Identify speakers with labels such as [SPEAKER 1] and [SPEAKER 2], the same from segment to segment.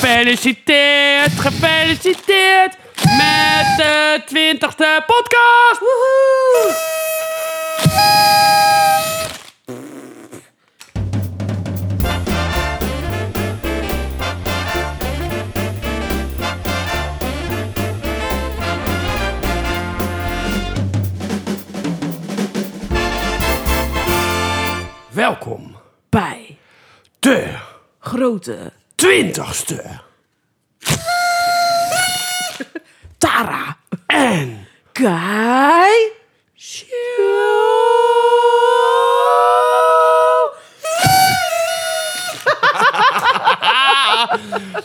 [SPEAKER 1] Gefeliciteerd, gefeliciteerd met de twintigste podcast. Woehoe! Welkom
[SPEAKER 2] bij
[SPEAKER 1] de
[SPEAKER 2] grote
[SPEAKER 1] twintigste
[SPEAKER 2] Tara
[SPEAKER 1] en
[SPEAKER 2] Kai.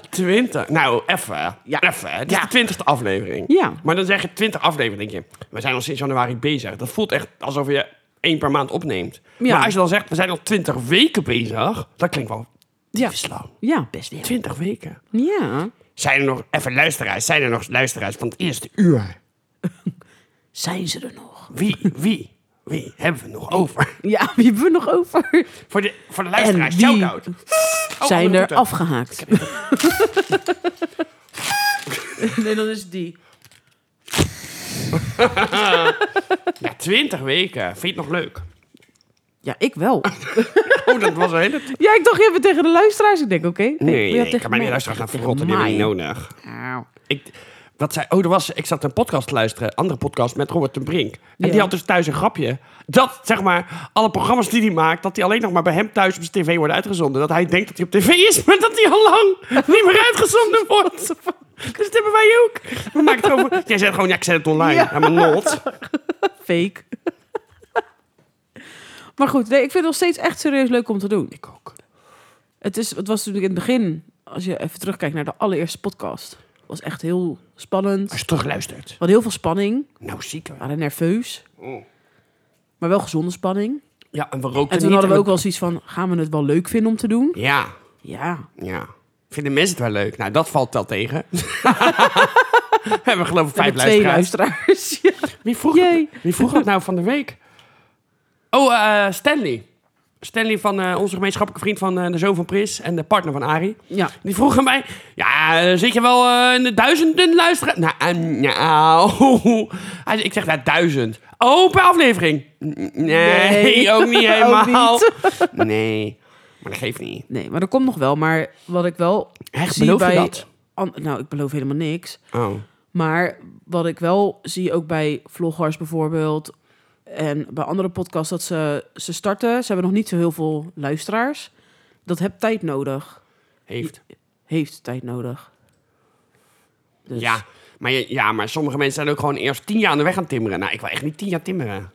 [SPEAKER 1] twintig. Nou, even. Ja, even. Het is de twintigste aflevering.
[SPEAKER 2] Ja.
[SPEAKER 1] Maar dan zeg je twintig afleveringen. denk je, We zijn al sinds januari bezig. Dat voelt echt alsof je één per maand opneemt.
[SPEAKER 2] Ja.
[SPEAKER 1] Maar als je dan zegt, we zijn al twintig weken bezig. Dat klinkt wel
[SPEAKER 2] Ja.
[SPEAKER 1] even lang.
[SPEAKER 2] Ja, best wel.
[SPEAKER 1] Twintig weken.
[SPEAKER 2] Ja.
[SPEAKER 1] Zijn er nog, even luisteraars, zijn er nog luisteraars van het eerste uur?
[SPEAKER 2] Zijn ze er nog?
[SPEAKER 1] Wie, wie, wie hebben we nog over?
[SPEAKER 2] Ja, wie hebben we nog over?
[SPEAKER 1] Voor de, voor de
[SPEAKER 2] En
[SPEAKER 1] luisteraars,
[SPEAKER 2] die
[SPEAKER 1] shout-out. Oh,
[SPEAKER 2] zijn
[SPEAKER 1] dat
[SPEAKER 2] er
[SPEAKER 1] doet het.
[SPEAKER 2] afgehaakt. nee, dan is die.
[SPEAKER 1] Ja, twintig weken. Vind je het nog leuk?
[SPEAKER 2] Ja, ik wel.
[SPEAKER 1] Oh, dat was een hele...
[SPEAKER 2] Ja, ik dacht even tegen de luisteraars. Ik denk, oké.
[SPEAKER 1] Nee,
[SPEAKER 2] ja,
[SPEAKER 1] nee, ik kan mij niet luisteren gaan verrotten. Die
[SPEAKER 2] mij.
[SPEAKER 1] hebben we niet nodig.
[SPEAKER 2] Nou.
[SPEAKER 1] Ik, wat zei, oh, er was, ik zat een podcast te luisteren, een andere podcast met Robert ten Brink. En
[SPEAKER 2] Ja.
[SPEAKER 1] die had dus thuis een grapje. Dat, zeg maar, alle programma's die hij maakt, dat die alleen nog maar bij hem thuis op zijn tv worden uitgezonden. Dat hij denkt dat hij op tv is, maar dat hij al lang niet meer uitgezonden wordt. Dus dat hebben wij ook. We maken het gewoon, jij zegt gewoon, ja, ik zet het online.
[SPEAKER 2] Ja.
[SPEAKER 1] Ja, maar not.
[SPEAKER 2] Fake. maar goed, nee, ik vind het nog steeds echt serieus leuk om te doen.
[SPEAKER 1] Ik ook.
[SPEAKER 2] Het, is, het was natuurlijk in het begin, als je even terugkijkt naar de allereerste podcast, was echt heel spannend.
[SPEAKER 1] Als
[SPEAKER 2] We
[SPEAKER 1] je terugluistert.
[SPEAKER 2] hadden heel veel spanning, we
[SPEAKER 1] Nou, ziek. hè.
[SPEAKER 2] waren nerveus, maar wel gezonde spanning.
[SPEAKER 1] Ja, Oh. en we rookten
[SPEAKER 2] En toen
[SPEAKER 1] niet
[SPEAKER 2] hadden we
[SPEAKER 1] en
[SPEAKER 2] ook wel zoiets van, gaan we het wel leuk vinden om te doen?
[SPEAKER 1] Ja,
[SPEAKER 2] Ja,
[SPEAKER 1] ja. Vinden mensen het wel leuk? Nou, dat valt wel tegen. we hebben geloof ik
[SPEAKER 2] we
[SPEAKER 1] vijf
[SPEAKER 2] hebben twee
[SPEAKER 1] luisteraars.
[SPEAKER 2] luisteraars. Ja.
[SPEAKER 1] Wie vroeg,
[SPEAKER 2] Jee.
[SPEAKER 1] dat, wie vroeg dat nou van de week? Oh, eh, Stanley. Stanley van eh, onze gemeenschappelijke vriend van eh, de zoon van Pris en de partner van Arie.
[SPEAKER 2] Ja.
[SPEAKER 1] Die vroegen mij, ja, eh, zit je wel eh, in de duizenden luisteren? Nou, eh, nou. Hij zei- ik zeg, nou, duizend. Oh, per aflevering. N- Nee,
[SPEAKER 2] Nee.
[SPEAKER 1] ook niet helemaal.
[SPEAKER 2] Ook
[SPEAKER 1] Nee, maar dat geeft niet.
[SPEAKER 2] Nee, maar dat komt nog wel. Maar wat ik wel
[SPEAKER 1] Echt,
[SPEAKER 2] zie
[SPEAKER 1] beloof je
[SPEAKER 2] bij...
[SPEAKER 1] dat?
[SPEAKER 2] an- nou, ik beloof helemaal niks.
[SPEAKER 1] Oh,
[SPEAKER 2] Maar wat ik wel zie ook bij vloggers bijvoorbeeld en bij andere podcasts, dat ze, ze starten. Ze hebben nog niet zo heel veel luisteraars. Dat heeft tijd nodig.
[SPEAKER 1] heeft.
[SPEAKER 2] Heeft tijd nodig. Dus-
[SPEAKER 1] Ja, maar, je- ja, maar sommige mensen zijn ook gewoon eerst tien jaar aan de weg aan het timmeren. Nou, ik wil echt niet tien jaar timmeren.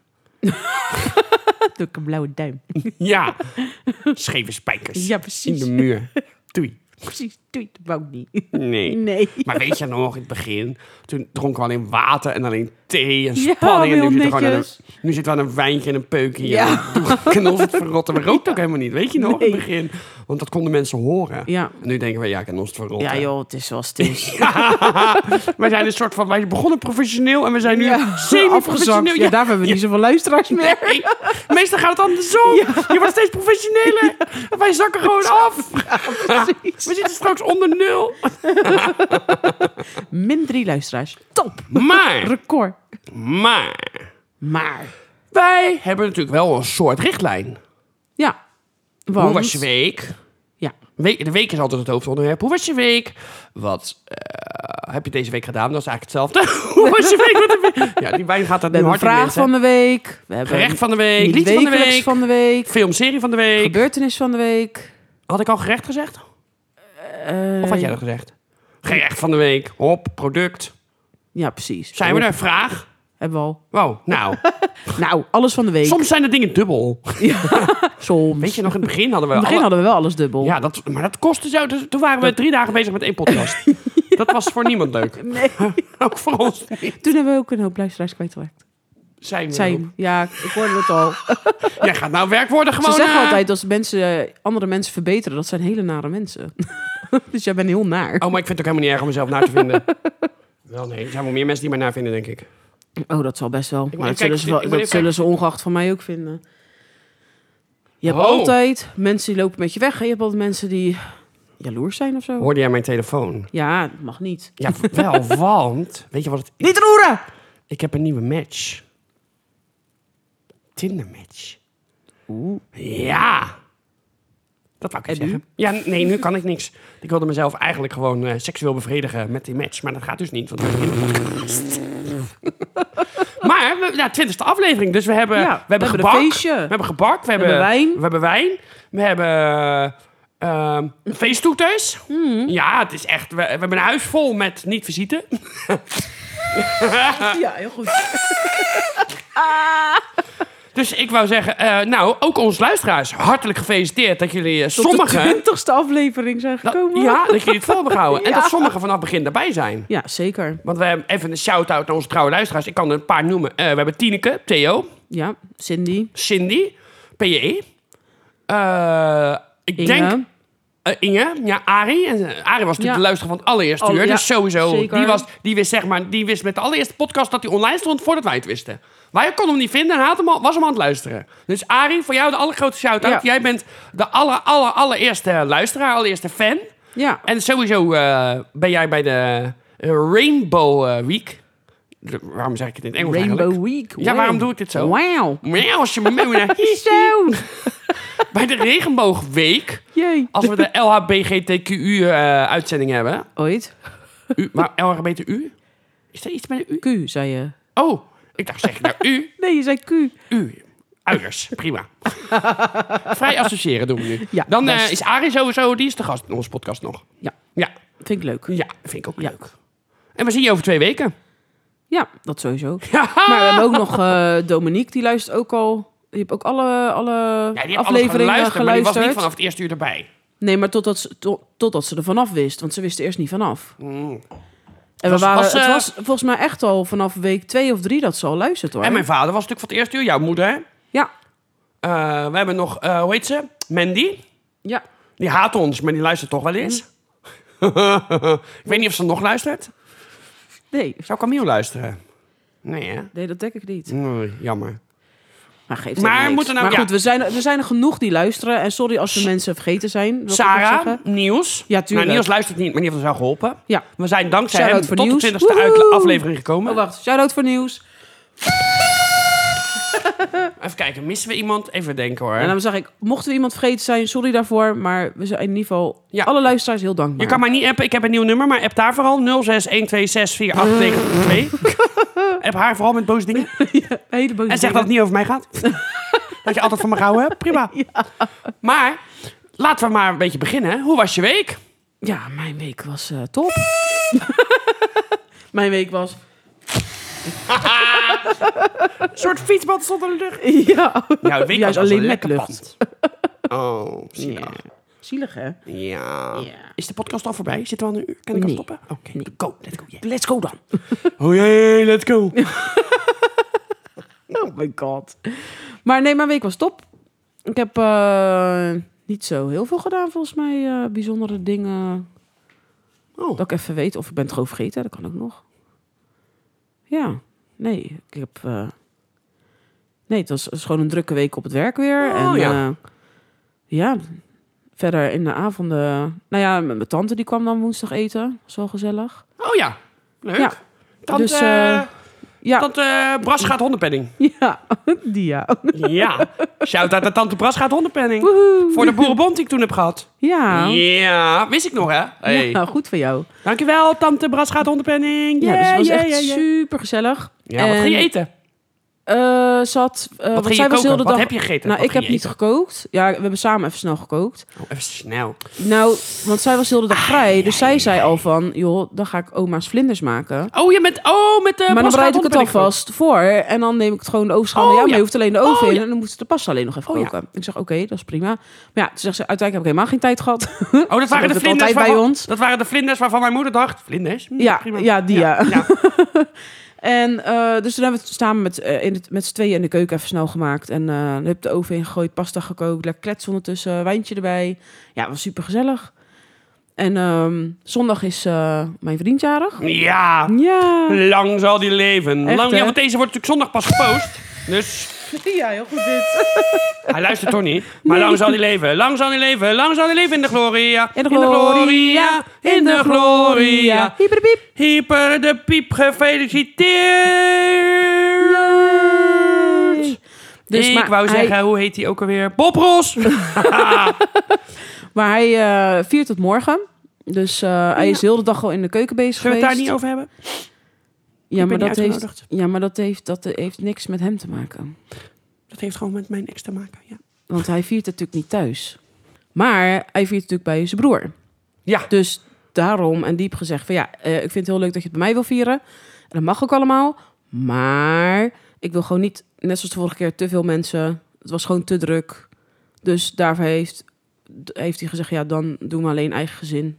[SPEAKER 2] Doe ik een blauwe duim.
[SPEAKER 1] Ja, scheve spijkers.
[SPEAKER 2] Ja,
[SPEAKER 1] In de
[SPEAKER 2] precies.
[SPEAKER 1] muur. Doei.
[SPEAKER 2] Precies. Doe je wou ik niet.
[SPEAKER 1] Nee.
[SPEAKER 2] Nee.
[SPEAKER 1] Maar weet je nog, in het begin, toen dronken we alleen water en alleen thee en
[SPEAKER 2] Ja,
[SPEAKER 1] spanning. en
[SPEAKER 2] heel
[SPEAKER 1] nu zitten, we gewoon aan een,
[SPEAKER 2] netjes.
[SPEAKER 1] nu zitten we aan een wijntje en een peukje.
[SPEAKER 2] Ja.
[SPEAKER 1] En kunnen ons het verrotten. We rookten ook helemaal niet, weet je nog, in het begin. Want dat konden mensen horen.
[SPEAKER 2] Ja.
[SPEAKER 1] En nu denken we, ja, ik kan ons het verrotten.
[SPEAKER 2] Ja joh, het is zoals het is.
[SPEAKER 1] Wij zijn een soort van, wij begonnen professioneel en we zijn nu
[SPEAKER 2] Ja,
[SPEAKER 1] semi-professioneel.
[SPEAKER 2] afgezakt. Ja, daarvoor hebben we niet zoveel luisteraars meer.
[SPEAKER 1] Nee, meestal gaat het andersom. Je wordt steeds professioneler. Wij zakken gewoon af. We zitten straks onder nul.
[SPEAKER 2] Min drie luisteraars. Top.
[SPEAKER 1] Maar,
[SPEAKER 2] Record.
[SPEAKER 1] maar,
[SPEAKER 2] Maar.
[SPEAKER 1] wij hebben natuurlijk wel een soort richtlijn.
[SPEAKER 2] Ja. Want,
[SPEAKER 1] Hoe was je week?
[SPEAKER 2] Ja.
[SPEAKER 1] Week- De week is altijd het hoofdonderwerp. Hoe was je week? Wat eh, heb je deze week gedaan? Dat is eigenlijk hetzelfde. Hoe was je week? Met de week? Ja, die wijn gaat er
[SPEAKER 2] We
[SPEAKER 1] nu
[SPEAKER 2] hebben een
[SPEAKER 1] hard in
[SPEAKER 2] vraag
[SPEAKER 1] mensen.
[SPEAKER 2] van de week. We hebben
[SPEAKER 1] Gerecht van de
[SPEAKER 2] een
[SPEAKER 1] week,
[SPEAKER 2] niet
[SPEAKER 1] liedje van de
[SPEAKER 2] wekelijks
[SPEAKER 1] week,
[SPEAKER 2] van de week.
[SPEAKER 1] filmserie van de week.
[SPEAKER 2] Gebeurtenis van de week.
[SPEAKER 1] Had ik al gerecht gezegd?
[SPEAKER 2] Eh,
[SPEAKER 1] Of had jij dat gezegd? Gerecht van de week, hop, product.
[SPEAKER 2] Ja, precies. Oh,
[SPEAKER 1] Zijn we er? Vraag?
[SPEAKER 2] Hebben we al.
[SPEAKER 1] Wow, nou.
[SPEAKER 2] Nou, alles van de week.
[SPEAKER 1] Soms zijn de dingen dubbel.
[SPEAKER 2] Soms.
[SPEAKER 1] Weet je nog, in het begin hadden we...
[SPEAKER 2] In het begin
[SPEAKER 1] alle-
[SPEAKER 2] hadden we wel alles dubbel.
[SPEAKER 1] Ja, dat, maar dat kostte zo... dus toen waren we drie dagen bezig met één podcast. Dat was voor niemand leuk.
[SPEAKER 2] Nee.
[SPEAKER 1] Ook voor ons niet.
[SPEAKER 2] Toen hebben we ook een hoop luisteraars kwijtgeraakt.
[SPEAKER 1] Zijn we
[SPEAKER 2] Zijn. Ja, ik hoorde het al.
[SPEAKER 1] ook. Jij gaat nou werkwoorden gewoon...
[SPEAKER 2] Ze zeggen
[SPEAKER 1] eh,
[SPEAKER 2] altijd als mensen eh, andere mensen verbeteren, dat zijn hele nare mensen. dus jij bent heel naar.
[SPEAKER 1] Oh, maar ik vind het ook helemaal niet erg om mezelf naar te vinden. Wel, nee. Er zijn wel meer mensen die mij naar vinden, denk ik.
[SPEAKER 2] Oh, dat zal best wel.
[SPEAKER 1] ben
[SPEAKER 2] Maar
[SPEAKER 1] even kijken,
[SPEAKER 2] dat zullen, ze,
[SPEAKER 1] ik
[SPEAKER 2] wel,
[SPEAKER 1] ben
[SPEAKER 2] dat
[SPEAKER 1] even
[SPEAKER 2] zullen ze ongeacht van mij ook vinden. Je hebt
[SPEAKER 1] Oh.
[SPEAKER 2] altijd mensen die lopen met je weg. En je hebt altijd mensen die jaloers zijn of zo.
[SPEAKER 1] Hoorde jij mijn telefoon?
[SPEAKER 2] Ja, dat mag niet.
[SPEAKER 1] Ja, wel, want... Weet je wat het is?
[SPEAKER 2] Niet roeren!
[SPEAKER 1] Ik heb een nieuwe match. Tinder match. Oeh. Ja. Dat wou ik even
[SPEAKER 2] En
[SPEAKER 1] zeggen. Ja, nee, nu kan ik niks. Ik wilde mezelf eigenlijk gewoon eh, seksueel bevredigen met die match. Maar dat gaat dus niet, want we hebben geen podcast. Maar, we- ja, twintigste aflevering. Dus we hebben,
[SPEAKER 2] Ja,
[SPEAKER 1] we hebben
[SPEAKER 2] we hebben een
[SPEAKER 1] gebak.
[SPEAKER 2] feestje.
[SPEAKER 1] We hebben gebak. We hebben,
[SPEAKER 2] hebben wijn.
[SPEAKER 1] We hebben wijn. We hebben eh, ehm, feesttoeters.
[SPEAKER 2] Hmm.
[SPEAKER 1] Ja, het is echt... We, we hebben een huis vol met niet-visite. Ah.
[SPEAKER 2] Ja, heel goed.
[SPEAKER 1] Dus ik wou zeggen, eh, nou, ook ons luisteraars, hartelijk gefeliciteerd dat jullie eh,
[SPEAKER 2] Tot de
[SPEAKER 1] sommigen...
[SPEAKER 2] twintigste aflevering zijn
[SPEAKER 1] dat-
[SPEAKER 2] gekomen.
[SPEAKER 1] ja, dat jullie het vol hebben gehouden. En
[SPEAKER 2] Ja.
[SPEAKER 1] dat sommigen vanaf het begin erbij zijn.
[SPEAKER 2] ja, zeker.
[SPEAKER 1] Want we hebben even een shout-out aan onze trouwe luisteraars. Ik kan er een paar noemen. Eh, we hebben Tineke, Theo,
[SPEAKER 2] Ja, Cindy,
[SPEAKER 1] Cindy, PJ. eh, ik
[SPEAKER 2] Inge.
[SPEAKER 1] denk eh, Inge, ja, Arie. En, eh, Arie was natuurlijk
[SPEAKER 2] Ja.
[SPEAKER 1] de luisteraar van het allereerste
[SPEAKER 2] Oh,
[SPEAKER 1] uur.
[SPEAKER 2] ja,
[SPEAKER 1] Dus sowieso,
[SPEAKER 2] zeker.
[SPEAKER 1] die, was, die, wist, zeg maar, die wist met de allereerste podcast dat hij online stond voordat wij het wisten. Wij konden hem niet vinden en hij had hem al, was hem aan het luisteren. Dus Arie, voor jou de allergrootste shout-out.
[SPEAKER 2] Ja.
[SPEAKER 1] Jij bent de aller, aller, allereerste luisteraar, allereerste fan.
[SPEAKER 2] Ja,
[SPEAKER 1] En sowieso eh, ben jij bij de eh, Rainbow eh, Week. De- waarom zeg ik het in het Engels eigenlijk?
[SPEAKER 2] Rainbow Week.
[SPEAKER 1] Ja, waarom doe ik dit zo?
[SPEAKER 2] Wauw.
[SPEAKER 1] Meow, als je me mee naar-
[SPEAKER 2] Zo.
[SPEAKER 1] Bij de Regenboogweek,
[SPEAKER 2] Jee.
[SPEAKER 1] als we de LHBGTQU-uitzending eh, hebben.
[SPEAKER 2] Ooit.
[SPEAKER 1] U, maar LHBTU? Is er iets met een U?
[SPEAKER 2] Q, zei je.
[SPEAKER 1] Oh, ik dacht zeg ik nou U?
[SPEAKER 2] Nee, je zei Q.
[SPEAKER 1] U. Uiers, prima. Vrij associëren doen we nu.
[SPEAKER 2] Ja,
[SPEAKER 1] Dan eh,
[SPEAKER 2] best.
[SPEAKER 1] is Arie sowieso, die is de gast in onze podcast nog.
[SPEAKER 2] Ja.
[SPEAKER 1] Ja,
[SPEAKER 2] Vind ik leuk.
[SPEAKER 1] ja vind ik ook
[SPEAKER 2] Ja.
[SPEAKER 1] leuk. En we zien je over twee weken.
[SPEAKER 2] Ja, dat sowieso. Maar we hebben ook nog eh, Dominique, die luistert ook al. Die heeft ook alle, alle
[SPEAKER 1] Ja, die heeft alles
[SPEAKER 2] afleveringen geluisterd.
[SPEAKER 1] geluisterd, maar die was niet vanaf het eerste uur erbij.
[SPEAKER 2] Nee, maar totdat ze, to- totdat ze er vanaf wist. Want ze wist er eerst niet vanaf. En
[SPEAKER 1] was-
[SPEAKER 2] we waren,
[SPEAKER 1] was, eh,
[SPEAKER 2] het was volgens mij echt al vanaf week twee of drie dat ze al luistert hoor.
[SPEAKER 1] En mijn vader was natuurlijk van het eerste uur, jouw moeder. hè?
[SPEAKER 2] Ja,
[SPEAKER 1] Eh, we hebben nog, eh, hoe heet ze? Mandy.
[SPEAKER 2] ja.
[SPEAKER 1] Die haat ons, maar die luistert toch wel eens. Mm. ik weet niet of ze nog luistert.
[SPEAKER 2] Nee,
[SPEAKER 1] Zou Camille luisteren? Nee, hè?
[SPEAKER 2] nee dat denk ik niet.
[SPEAKER 1] Nee, jammer.
[SPEAKER 2] Maar geeft
[SPEAKER 1] Maar
[SPEAKER 2] helemaal niks.
[SPEAKER 1] moeten nou-
[SPEAKER 2] maar
[SPEAKER 1] ja.
[SPEAKER 2] goed, we, zijn, er- we zijn er genoeg die luisteren. En sorry als we mensen vergeten zijn. wil ik ook nog
[SPEAKER 1] Sarah,
[SPEAKER 2] zeggen.
[SPEAKER 1] Niels.
[SPEAKER 2] Ja, tuurlijk.
[SPEAKER 1] Nou, Niels luistert niet, maar die heeft ons wel geholpen.
[SPEAKER 2] Ja.
[SPEAKER 1] We zijn dankzij
[SPEAKER 2] Shout-out
[SPEAKER 1] hem
[SPEAKER 2] voor
[SPEAKER 1] tot
[SPEAKER 2] Niels.
[SPEAKER 1] de 20e uit-
[SPEAKER 2] Woehoe.
[SPEAKER 1] aflevering gekomen.
[SPEAKER 2] Oh, wacht. Shout-out voor nieuws.
[SPEAKER 1] Even kijken, missen we iemand? Even denken hoor.
[SPEAKER 2] En dan zag ik, mochten we iemand vergeten zijn, sorry daarvoor. Maar we zijn in ieder geval
[SPEAKER 1] Ja.
[SPEAKER 2] alle luisteraars heel dankbaar.
[SPEAKER 1] Je kan mij niet appen, ik heb een nieuw nummer, maar app daar vooral. 0612648992. app haar vooral met boze dingen.
[SPEAKER 2] Een hele boze
[SPEAKER 1] En zeg dat
[SPEAKER 2] dingen.
[SPEAKER 1] het niet over mij gaat. dat je altijd van me gehouden hebt, prima. Maar laten we maar een beetje beginnen. Hoe was je week?
[SPEAKER 2] Ja, mijn week was eh, top. mijn week was...
[SPEAKER 1] Een soort fietsband stond in de lucht.
[SPEAKER 2] Ja. oh
[SPEAKER 1] Nou, de week was
[SPEAKER 2] Juist
[SPEAKER 1] alleen
[SPEAKER 2] alleen
[SPEAKER 1] een lekker
[SPEAKER 2] met lucht.
[SPEAKER 1] pand. Oh, zielig.
[SPEAKER 2] Zielig, hè?
[SPEAKER 1] Ja.
[SPEAKER 2] Ja.
[SPEAKER 1] Is de podcast al voorbij? Zitten we al een uur? Kan ik
[SPEAKER 2] Nee.
[SPEAKER 1] al stoppen? Oké, go. Let's go, yeah. let's go dan. oh jee, let's go.
[SPEAKER 2] Oh my god. Maar nee, mijn week was top. Ik heb eh, niet zo heel veel gedaan, volgens mij. eh, bijzondere dingen.
[SPEAKER 1] Oh.
[SPEAKER 2] Dat ik even weet. Of ik ben het gewoon vergeten, dat kan ook nog. Ja, nee. Ik heb... eh, Nee, het was, het was gewoon een drukke week op het werk weer.
[SPEAKER 1] Oh,
[SPEAKER 2] en,
[SPEAKER 1] ja.
[SPEAKER 2] eh, ja, verder in de avonden... Nou ja, mijn mijn tante die kwam dan woensdag eten. Dat was wel gezellig.
[SPEAKER 1] Oh ja, leuk.
[SPEAKER 2] Ja.
[SPEAKER 1] Tante,
[SPEAKER 2] Dus, eh, Ja,
[SPEAKER 1] tante Bras gaat hondenpenning.
[SPEAKER 2] ja die ja.
[SPEAKER 1] Ja, shout-out aan Tante Bras gaat hondenpenning.
[SPEAKER 2] Woehoe.
[SPEAKER 1] Voor de boerenbond die ik toen heb gehad.
[SPEAKER 2] Ja.
[SPEAKER 1] Ja, wist ik nog hè? Hey.
[SPEAKER 2] Ja, nou, goed voor jou.
[SPEAKER 1] Dankjewel, Tante Bras gaat hondenpenning.
[SPEAKER 2] Ja,
[SPEAKER 1] Ja,
[SPEAKER 2] dus het was
[SPEAKER 1] ja,
[SPEAKER 2] echt
[SPEAKER 1] ja, ja.
[SPEAKER 2] super gezellig.
[SPEAKER 1] Ja, wat
[SPEAKER 2] En,
[SPEAKER 1] ging je eten?
[SPEAKER 2] eh, zat, eh,
[SPEAKER 1] Wat
[SPEAKER 2] want
[SPEAKER 1] ging
[SPEAKER 2] zij
[SPEAKER 1] je
[SPEAKER 2] was heel
[SPEAKER 1] koken?
[SPEAKER 2] de
[SPEAKER 1] Wat
[SPEAKER 2] dag-
[SPEAKER 1] heb je gegeten?
[SPEAKER 2] Nou,
[SPEAKER 1] Wat
[SPEAKER 2] ik heb
[SPEAKER 1] ging je
[SPEAKER 2] niet gekookt. Ja, we hebben samen even snel gekookt.
[SPEAKER 1] eten? Oh, even snel.
[SPEAKER 2] Nou, want zij was heel de
[SPEAKER 1] Ah,
[SPEAKER 2] dag vrij. Dus zij zei al van, joh, dan ga ik oma's vlinders maken.
[SPEAKER 1] Oh, je met, oh, met de
[SPEAKER 2] Maar dan
[SPEAKER 1] Bras gaat
[SPEAKER 2] bereid ik het
[SPEAKER 1] hondenpenning.
[SPEAKER 2] alvast voor. En dan neem ik het gewoon de ovenschaal
[SPEAKER 1] Oh,
[SPEAKER 2] naar jou mee.
[SPEAKER 1] ja.
[SPEAKER 2] Je hoeft alleen de oven
[SPEAKER 1] Oh,
[SPEAKER 2] in.
[SPEAKER 1] ja.
[SPEAKER 2] En dan moeten ze de pasta alleen nog even
[SPEAKER 1] Oh, ja.
[SPEAKER 2] koken. Ik zeg, oké, dat is prima. Maar ja, toen zegt ze, uiteindelijk heb ik helemaal geen tijd gehad.
[SPEAKER 1] Oh, dat waren,
[SPEAKER 2] doet
[SPEAKER 1] de
[SPEAKER 2] het
[SPEAKER 1] vlinders
[SPEAKER 2] altijd bij
[SPEAKER 1] waarvan-
[SPEAKER 2] ons.
[SPEAKER 1] dat waren de vlinders waarvan mijn moeder dacht. Vlinders? Hm,
[SPEAKER 2] Ja,
[SPEAKER 1] prima.
[SPEAKER 2] ja, die ja.
[SPEAKER 1] ja.
[SPEAKER 2] En eh, dus toen hebben we het samen met, eh, in het, met z'n tweeën in de keuken even snel gemaakt. En eh heb ik de oven ingegooid, pasta gekookt, lekker klets ondertussen, wijntje erbij. Ja, was super gezellig. En ehm, zondag is eh, mijn vriend jarig.
[SPEAKER 1] Ja.
[SPEAKER 2] Ja.
[SPEAKER 1] Lang zal die leven.
[SPEAKER 2] Echt,
[SPEAKER 1] Lang, ja,
[SPEAKER 2] hè?
[SPEAKER 1] want deze wordt natuurlijk zondag pas gepost. Dus
[SPEAKER 2] Ja, heel goed dit.
[SPEAKER 1] Hij luistert toch niet. Maar lang zal hij leven, lang zal hij leven, lang zal hij leven in de gloria.
[SPEAKER 2] In de gloria, in de gloria. Hyperbiep.
[SPEAKER 1] Hyper de piep, gefeliciteerd.
[SPEAKER 2] Dus,
[SPEAKER 1] ik
[SPEAKER 2] maar
[SPEAKER 1] wou
[SPEAKER 2] hij-
[SPEAKER 1] zeggen, hoe heet hij ook alweer? Bob Ross.
[SPEAKER 2] Maar hij eh, viert tot morgen. Dus eh, hij is heel de dag al in de keuken bezig
[SPEAKER 1] Zullen we
[SPEAKER 2] geweest.
[SPEAKER 1] het daar niet over hebben?
[SPEAKER 2] ja,
[SPEAKER 1] Ik
[SPEAKER 2] maar
[SPEAKER 1] ben
[SPEAKER 2] dat
[SPEAKER 1] niet
[SPEAKER 2] heeft,
[SPEAKER 1] uitgenodigd.
[SPEAKER 2] ja, maar dat heeft, dat heeft niks met hem te maken.
[SPEAKER 1] Dat heeft gewoon met mijn ex te maken, ja.
[SPEAKER 2] Want hij viert het natuurlijk niet thuis. Maar hij viert het natuurlijk bij zijn broer.
[SPEAKER 1] Ja.
[SPEAKER 2] Dus daarom en diep gezegd van ja, eh, ik vind het heel leuk dat je het bij mij wil vieren. En dat mag ook allemaal. Maar ik wil gewoon niet, net zoals de vorige keer, te veel mensen. Het was gewoon te druk. Dus daarvoor heeft, d- heeft hij gezegd, ja, dan doen we alleen eigen gezin.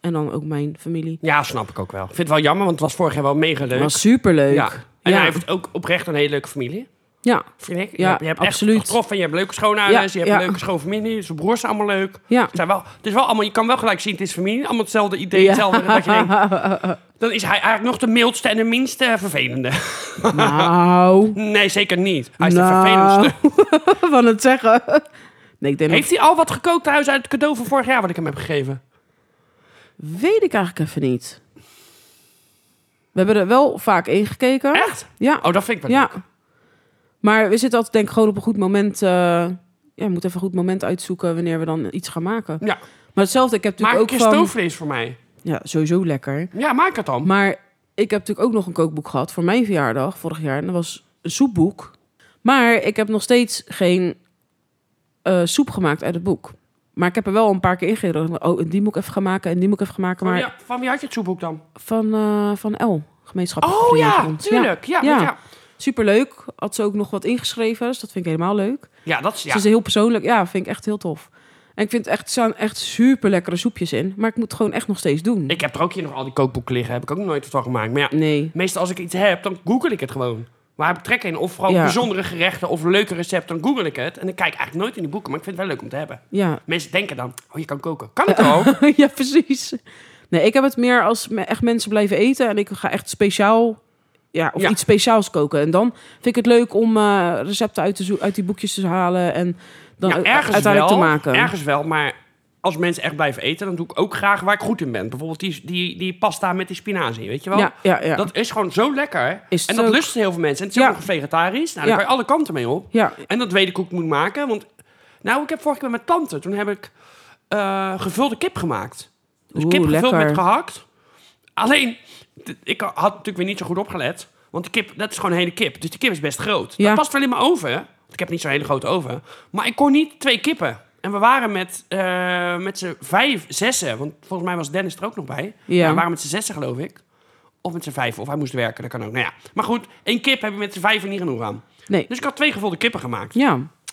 [SPEAKER 2] En dan ook mijn familie.
[SPEAKER 1] Ja, snap ik ook wel. Ik vind het wel jammer, want het was vorig jaar wel mega leuk.
[SPEAKER 2] Dat was superleuk.
[SPEAKER 1] Ja. En
[SPEAKER 2] ja.
[SPEAKER 1] hij heeft ook oprecht een hele leuke familie.
[SPEAKER 2] ja.
[SPEAKER 1] Vind ik.
[SPEAKER 2] Ja,
[SPEAKER 1] je hebt, je hebt echt
[SPEAKER 2] absoluut.
[SPEAKER 1] getroffen. Je hebt leuke schoonouders. je
[SPEAKER 2] Ja,
[SPEAKER 1] hebt
[SPEAKER 2] ja.
[SPEAKER 1] een leuke schoonfamilie. Zijn broers zijn allemaal leuk.
[SPEAKER 2] Ja.
[SPEAKER 1] Het Zijn wel, het is wel allemaal, je kan wel gelijk zien, het is familie. Allemaal hetzelfde idee,
[SPEAKER 2] Ja.
[SPEAKER 1] hetzelfde. Dat je denkt, dan is hij eigenlijk nog de mildste en de minste vervelende.
[SPEAKER 2] Nou,
[SPEAKER 1] Nee, zeker niet. Hij is de
[SPEAKER 2] Nou.
[SPEAKER 1] vervelendste.
[SPEAKER 2] van het zeggen. Nee, ik denk dat-
[SPEAKER 1] Heeft hij al wat gekookt thuis uit het cadeau van vorig jaar wat ik hem heb gegeven?
[SPEAKER 2] Weet ik eigenlijk even niet. We hebben er wel vaak in gekeken.
[SPEAKER 1] Echt?
[SPEAKER 2] Ja.
[SPEAKER 1] Oh, dat vind ik wel
[SPEAKER 2] ja. Maar we zitten altijd denk ik gewoon op een goed moment. eh, ja, we moeten even een goed moment uitzoeken wanneer we dan iets gaan maken.
[SPEAKER 1] leuk. Ja.
[SPEAKER 2] Maar hetzelfde, ik heb
[SPEAKER 1] Maak
[SPEAKER 2] natuurlijk
[SPEAKER 1] een keer
[SPEAKER 2] ook van...
[SPEAKER 1] stoofvlees voor mij.
[SPEAKER 2] Ja, sowieso lekker.
[SPEAKER 1] Ja, maak het dan.
[SPEAKER 2] Maar ik heb natuurlijk ook nog een kookboek gehad voor mijn verjaardag vorig jaar. En dat was een soepboek. Maar ik heb nog steeds geen eh, soep gemaakt uit het boek. Maar ik heb er wel een paar keer ingerold. Oh, en die moet ik even gaan maken en die moet ik even gaan maken.
[SPEAKER 1] Van,
[SPEAKER 2] Maar
[SPEAKER 1] wie- Oh van wie had je het soepboek dan?
[SPEAKER 2] van, eh, van L, gemeenschappelijk
[SPEAKER 1] Oh ja,
[SPEAKER 2] vriendenbond.
[SPEAKER 1] tuurlijk. Ja,
[SPEAKER 2] Ja.
[SPEAKER 1] ja. ja.
[SPEAKER 2] Superleuk. Had ze ook nog wat ingeschreven, dus dat vind ik helemaal leuk.
[SPEAKER 1] Ja, dat is... Ja.
[SPEAKER 2] Ze is heel persoonlijk. Ja, vind ik echt heel tof. En ik vind echt, er staan echt super lekkere soepjes in. Maar ik moet het gewoon echt nog steeds doen.
[SPEAKER 1] Ik heb er ook hier nog al die kookboeken liggen. Heb ik ook nog nooit wat van gemaakt. Maar ja,
[SPEAKER 2] Nee.
[SPEAKER 1] meestal als ik iets heb, dan google ik het gewoon. Waar heb ik trek in? Of vooral
[SPEAKER 2] Ja.
[SPEAKER 1] bijzondere gerechten of leuke recepten, dan google ik het. En dan kijk ik eigenlijk nooit in die boeken, maar ik vind het wel leuk om te hebben.
[SPEAKER 2] Ja.
[SPEAKER 1] Mensen denken dan, oh, je kan koken. Kan het
[SPEAKER 2] Eh,
[SPEAKER 1] al?
[SPEAKER 2] ja, precies. Nee, ik heb het meer als me- echt mensen blijven eten. En ik ga echt speciaal... Ja, of
[SPEAKER 1] Ja.
[SPEAKER 2] iets speciaals koken. En dan vind ik het leuk om eh, recepten uit, te zo- uit die boekjes te halen. En dan
[SPEAKER 1] Ja,
[SPEAKER 2] u-
[SPEAKER 1] ergens wel,
[SPEAKER 2] uiteindelijk te maken.
[SPEAKER 1] Ergens wel, maar als mensen echt blijven eten, dan doe ik ook graag waar ik goed in ben. Bijvoorbeeld die, die, die pasta met die spinazie, weet je wel?
[SPEAKER 2] ja, ja, ja.
[SPEAKER 1] Dat is gewoon zo lekker.
[SPEAKER 2] Is het
[SPEAKER 1] en dat
[SPEAKER 2] ook.
[SPEAKER 1] lusten heel veel mensen. En het is
[SPEAKER 2] Ja.
[SPEAKER 1] ook nog vegetarisch. Nou, daar
[SPEAKER 2] Ja.
[SPEAKER 1] kan je alle kanten mee op.
[SPEAKER 2] ja.
[SPEAKER 1] En dat weet ik hoe ik moet maken. Want, nou, ik heb vorige keer met mijn tante, toen heb ik eh, gevulde kip gemaakt. Dus
[SPEAKER 2] Oeh,
[SPEAKER 1] kip gevuld
[SPEAKER 2] lekker.
[SPEAKER 1] met gehakt. Alleen, d- ik had natuurlijk weer niet zo goed opgelet. Want de kip, dat is gewoon een hele kip. Dus die kip is best groot.
[SPEAKER 2] Ja.
[SPEAKER 1] Dat past wel in mijn oven. Want ik heb niet zo'n hele grote oven. Maar ik kon niet twee kippen. En we waren met, eh, met z'n vijf, zessen. Want volgens mij was Dennis er ook nog bij.
[SPEAKER 2] Ja.
[SPEAKER 1] we waren met z'n zessen, geloof ik. Of met z'n vijf. Of hij moest werken, dat kan ook. Nou ja. Maar goed, één kip heb je met z'n vijven niet genoeg aan.
[SPEAKER 2] Nee.
[SPEAKER 1] Dus ik had twee gevulde kippen gemaakt.
[SPEAKER 2] Ja.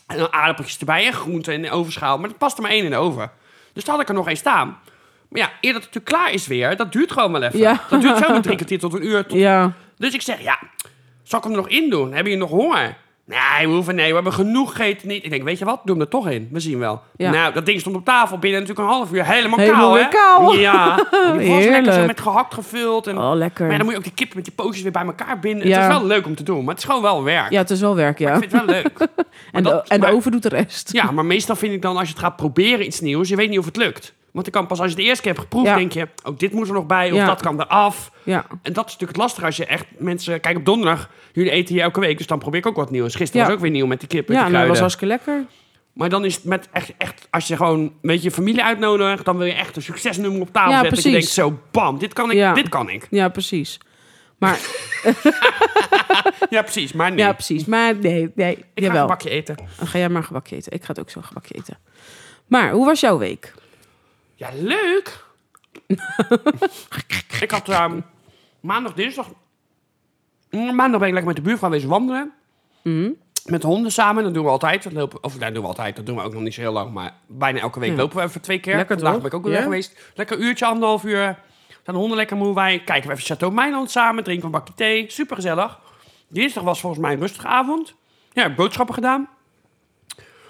[SPEAKER 1] En dan aardappeltjes erbij en groenten in de ovenschaal. Maar er past er maar één in de oven. Dus daar had ik er nog één staan. Maar ja, eer dat het natuurlijk klaar is weer, dat duurt gewoon wel even.
[SPEAKER 2] Ja.
[SPEAKER 1] Dat duurt zo'n drie kwartier tot een uur. tot-
[SPEAKER 2] Ja.
[SPEAKER 1] Dus ik zeg, ja, zal ik hem er nog in doen? Hebben jullie nog honger? Nee, we hoeven nee, we hebben genoeg gegeten. Niet. Ik denk, weet je wat, doe hem er toch in. We zien wel.
[SPEAKER 2] Ja.
[SPEAKER 1] Nou, dat ding stond op tafel binnen natuurlijk een half uur. Helemaal,
[SPEAKER 2] Helemaal
[SPEAKER 1] kaal,
[SPEAKER 2] weer
[SPEAKER 1] hè?
[SPEAKER 2] kaal.
[SPEAKER 1] Ja. En Die was lekker zo
[SPEAKER 2] Heerlijk.
[SPEAKER 1] met gehakt gevuld. En,
[SPEAKER 2] Oh,
[SPEAKER 1] Maar ja,
[SPEAKER 2] lekker.
[SPEAKER 1] dan moet je ook die kippen met die pootjes weer bij elkaar binden.
[SPEAKER 2] Ja.
[SPEAKER 1] Het is wel leuk om te doen, maar het is gewoon wel werk.
[SPEAKER 2] Ja, het is wel werk, ja.
[SPEAKER 1] Ik vind het wel leuk.
[SPEAKER 2] En de,
[SPEAKER 1] dat-
[SPEAKER 2] en de
[SPEAKER 1] maar-
[SPEAKER 2] oven doet de rest.
[SPEAKER 1] Ja, maar meestal vind ik dan als je het gaat proberen iets nieuws, je weet niet of het lukt. Want dan kan pas als je het de eerste keer hebt geproefd,
[SPEAKER 2] Ja.
[SPEAKER 1] denk je, oh, dit moet er nog bij, of
[SPEAKER 2] Ja.
[SPEAKER 1] dat kan eraf.
[SPEAKER 2] Ja.
[SPEAKER 1] En dat is natuurlijk lastig als je echt mensen... Kijk, op donderdag, jullie eten hier elke week, dus dan probeer ik ook wat nieuws. Gisteren
[SPEAKER 2] Ja.
[SPEAKER 1] was ook weer nieuw met die kip en
[SPEAKER 2] Ja,
[SPEAKER 1] die
[SPEAKER 2] nou, dat
[SPEAKER 1] kruiden.
[SPEAKER 2] was hartstikke lekker.
[SPEAKER 1] Maar dan is het met echt, echt, als je gewoon een beetje je familie uitnodigt, dan wil je echt een succesnummer op tafel
[SPEAKER 2] Ja,
[SPEAKER 1] zetten. Dat je denkt,
[SPEAKER 2] precies.
[SPEAKER 1] zo bam, dit kan ik,
[SPEAKER 2] Ja.
[SPEAKER 1] dit kan ik.
[SPEAKER 2] Ja, precies. Maar,
[SPEAKER 1] Ja, precies, maar nee.
[SPEAKER 2] ja, precies. Maar nee, nee.
[SPEAKER 1] ik ga een
[SPEAKER 2] Jawel.
[SPEAKER 1] bakje eten.
[SPEAKER 2] Dan ga jij maar een gebakje eten. Ik ga het ook zo een gebakje eten. Maar, hoe was jouw week?
[SPEAKER 1] Ja, leuk. ik had ehm, maandag, dinsdag... mm, Maandag ben ik lekker met de buurvrouw wezen wandelen.
[SPEAKER 2] Mhm.
[SPEAKER 1] Met de honden samen. Dat doen we altijd. Dat lopen, of dat doen we altijd. Dat doen we ook nog niet zo heel lang. Maar bijna elke week
[SPEAKER 2] Ja.
[SPEAKER 1] lopen we even twee keer.
[SPEAKER 2] Lekker
[SPEAKER 1] Vandaag
[SPEAKER 2] toch?
[SPEAKER 1] ben ik ook weer
[SPEAKER 2] Ja.
[SPEAKER 1] weg geweest. Lekker uurtje, anderhalf uur. Zijn de honden lekker moe. Wij kijken we even Chateau Meiland samen. Drinken we een bakje thee. Super gezellig. Dinsdag was volgens mij een rustige avond. Ja, boodschappen gedaan.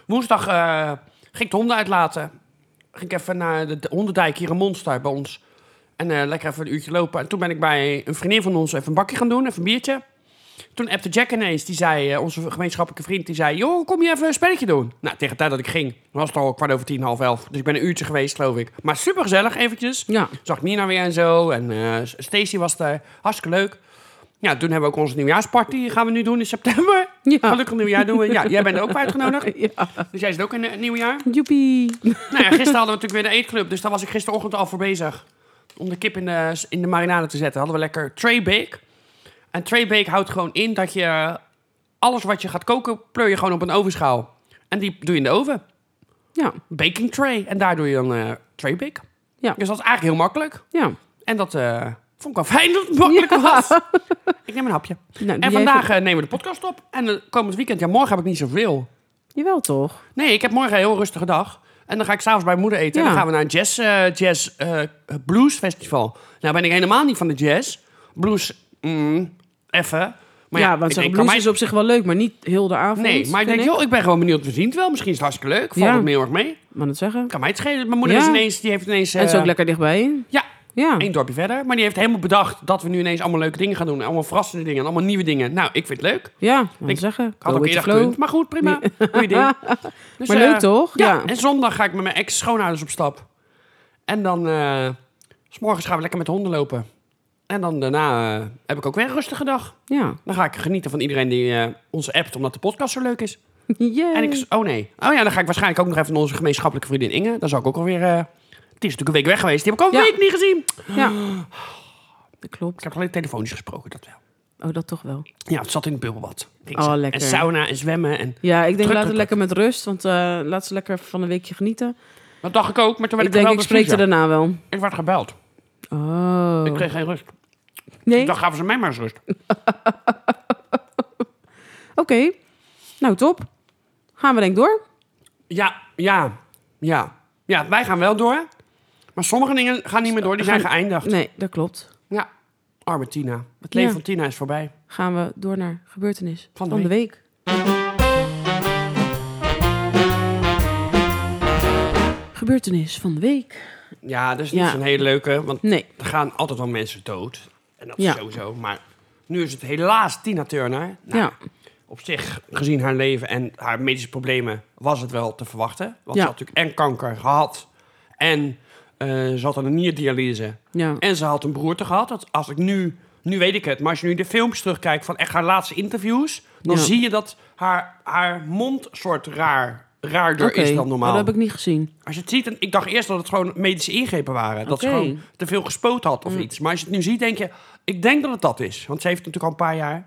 [SPEAKER 1] Woensdag eh, ging ik de honden uitlaten. Ging ik even naar de de hondendijk hier in Monster bij ons. En eh, lekker even een uurtje lopen. En toen ben ik bij een vriendin van ons even een bakje gaan doen. Even een biertje. Toen appte Jack ineens, die zei, eh, onze gemeenschappelijke vriend, die zei... joh, kom je even een spelletje doen? Nou, tegen de tijd dat ik ging, was het al kwart over tien, half elf. Dus ik ben een uurtje geweest, geloof ik. Maar supergezellig, eventjes.
[SPEAKER 2] Ja.
[SPEAKER 1] Zag Nina weer en zo. En eh, Stacy was daar. Hartstikke leuk. Ja, toen hebben we ook onze nieuwjaarsparty. Gaan we nu doen in september.
[SPEAKER 2] Ja.
[SPEAKER 1] Gelukkig nieuwjaar doen we. Ja, jij bent er ook bij uitgenodigd.
[SPEAKER 2] Ja.
[SPEAKER 1] Dus jij zit ook in het nieuwjaar.
[SPEAKER 2] Joepie.
[SPEAKER 1] Nou ja, gisteren hadden we natuurlijk weer de eetclub. Dus daar was ik gisterochtend al voor bezig. Om de kip in de, in de marinade te zetten. Hadden we lekker tray bake. En tray bake houdt gewoon in dat je... Alles wat je gaat koken, pleur je gewoon op een ovenschaal. En die doe je in de oven.
[SPEAKER 2] Ja.
[SPEAKER 1] Baking tray. En daar doe je dan eh tray bake.
[SPEAKER 2] Ja.
[SPEAKER 1] Dus dat is eigenlijk heel makkelijk.
[SPEAKER 2] Ja. Nou,
[SPEAKER 1] En dat eh, vond ik wel fijn dat het makkelijk
[SPEAKER 2] Ja.
[SPEAKER 1] was. Ik neem een hapje.
[SPEAKER 2] Nou,
[SPEAKER 1] En
[SPEAKER 2] die
[SPEAKER 1] vandaag
[SPEAKER 2] heeft-
[SPEAKER 1] eh, nemen we de podcast op. En eh, komend weekend, ja, morgen heb ik niet zoveel.
[SPEAKER 2] Jawel toch?
[SPEAKER 1] Nee, ik heb morgen een heel rustige dag. En dan ga ik s'avonds bij mijn moeder eten. En
[SPEAKER 2] Ja.
[SPEAKER 1] dan gaan we naar een jazz, eh, jazz eh, blues festival. Nou ben ik helemaal niet van de jazz. Blues, mm, even. Maar
[SPEAKER 2] ja,
[SPEAKER 1] ja,
[SPEAKER 2] want
[SPEAKER 1] ik
[SPEAKER 2] zo'n
[SPEAKER 1] denk,
[SPEAKER 2] blues
[SPEAKER 1] kan
[SPEAKER 2] is
[SPEAKER 1] mij-
[SPEAKER 2] op zich wel leuk, maar niet heel de avond.
[SPEAKER 1] Nee, maar ik
[SPEAKER 2] vind
[SPEAKER 1] denk, joh, ik ben gewoon benieuwd. We zien het wel. Misschien is het hartstikke leuk. Valt
[SPEAKER 2] Ja.
[SPEAKER 1] het me heel erg mee.
[SPEAKER 2] Mag het zeggen?
[SPEAKER 1] Kan mij het schelen. Mijn moeder
[SPEAKER 2] Ja.
[SPEAKER 1] is ineens, die heeft ineens...
[SPEAKER 2] En het is
[SPEAKER 1] eh,
[SPEAKER 2] ook lekker dichtbij.
[SPEAKER 1] Ja,
[SPEAKER 2] Ja.
[SPEAKER 1] één dorpje verder. Maar die heeft helemaal bedacht dat we nu ineens allemaal leuke dingen gaan doen. Allemaal verrassende dingen. en Allemaal nieuwe dingen. Nou, ik vind het leuk.
[SPEAKER 2] Ja, mag
[SPEAKER 1] Ik
[SPEAKER 2] het zeggen.
[SPEAKER 1] Ik had
[SPEAKER 2] Go
[SPEAKER 1] ook
[SPEAKER 2] with the
[SPEAKER 1] eerder
[SPEAKER 2] flow.
[SPEAKER 1] gekund. Maar goed, prima. Goeie ding. Dus,
[SPEAKER 2] Maar
[SPEAKER 1] eh,
[SPEAKER 2] leuk toch?
[SPEAKER 1] Ja.
[SPEAKER 2] Ja.
[SPEAKER 1] en zondag ga ik met mijn ex-schoonouders op stap. En dan... eh, s morgens gaan we lekker met de honden lopen. En dan daarna eh, heb ik ook weer een rustige dag.
[SPEAKER 2] Ja.
[SPEAKER 1] Dan ga ik genieten van iedereen die eh, ons appt, omdat de podcast zo leuk is.
[SPEAKER 2] Yay.
[SPEAKER 1] En ik... Oh nee. Oh ja, dan ga ik waarschijnlijk ook nog even naar onze gemeenschappelijke vriendin Inge. Dan zal ik ook alweer... eh, het is natuurlijk een week weg geweest. Die heb ik al een
[SPEAKER 2] Ja.
[SPEAKER 1] week niet gezien.
[SPEAKER 2] Ja. Dat
[SPEAKER 1] Ik
[SPEAKER 2] klopt.
[SPEAKER 1] heb alleen telefonisch gesproken, dat wel.
[SPEAKER 2] Oh, dat toch wel.
[SPEAKER 1] Ja, het zat in het bubbelbad. Ging
[SPEAKER 2] Oh,
[SPEAKER 1] ze-
[SPEAKER 2] lekker.
[SPEAKER 1] En sauna en zwemmen. En...
[SPEAKER 2] Ja, ik denk
[SPEAKER 1] Druk,
[SPEAKER 2] laat het
[SPEAKER 1] druk,
[SPEAKER 2] lekker met rust, want eh, laat ze lekker van een weekje genieten.
[SPEAKER 1] Dat dacht ik ook, maar toen
[SPEAKER 2] Ik
[SPEAKER 1] werd ik,
[SPEAKER 2] denk, ik
[SPEAKER 1] gebeld door
[SPEAKER 2] spreek er
[SPEAKER 1] Suze.
[SPEAKER 2] daarna wel.
[SPEAKER 1] Ik werd gebeld.
[SPEAKER 2] Oh.
[SPEAKER 1] Ik kreeg geen rust.
[SPEAKER 2] Nee?
[SPEAKER 1] Dan
[SPEAKER 2] Oké.
[SPEAKER 1] gaven ze mij maar eens rust.
[SPEAKER 2] Nou, top. Gaan we denk ik door?
[SPEAKER 1] Ja, ja, ja. Ja, wij gaan wel door. Maar sommige dingen gaan niet meer door. Die zijn
[SPEAKER 2] Gaan-
[SPEAKER 1] geëindigd.
[SPEAKER 2] Nee, dat klopt.
[SPEAKER 1] Ja. Arme Tina. Het leven
[SPEAKER 2] Ja.
[SPEAKER 1] van Tina is voorbij.
[SPEAKER 2] Gaan we door naar gebeurtenis
[SPEAKER 1] Van
[SPEAKER 2] van
[SPEAKER 1] de
[SPEAKER 2] de, week. Gebeurtenis van de week.
[SPEAKER 1] Ja, dat is niet
[SPEAKER 2] Ja.
[SPEAKER 1] zo'n hele leuke. Want
[SPEAKER 2] Nee.
[SPEAKER 1] er gaan altijd wel mensen dood. En dat
[SPEAKER 2] Ja.
[SPEAKER 1] is sowieso. Maar nu is het helaas Tina Turner. Nou,
[SPEAKER 2] ja.
[SPEAKER 1] Op zich, gezien haar leven en haar medische problemen, was het wel te verwachten. Want
[SPEAKER 2] Ja.
[SPEAKER 1] ze had natuurlijk en kanker gehad. En eh, ze had een nierdialyse.
[SPEAKER 2] Ja.
[SPEAKER 1] En ze had een broerte gehad. Dat als ik nu, nu weet ik het, maar als je nu de filmpjes terugkijkt van echt haar laatste interviews, dan
[SPEAKER 2] Ja.
[SPEAKER 1] zie je dat haar, haar mond soort raar, raarder
[SPEAKER 2] Oké,
[SPEAKER 1] is dan
[SPEAKER 2] maar
[SPEAKER 1] normaal.
[SPEAKER 2] Dat heb ik niet gezien.
[SPEAKER 1] Als je het ziet, en ik dacht eerst dat het gewoon medische ingrepen waren. Dat ze
[SPEAKER 2] Oké. Mm.
[SPEAKER 1] gewoon te veel gespoot had of iets. Maar als je het nu ziet, denk je, ik denk dat het dat is. Want ze heeft het natuurlijk al een paar jaar.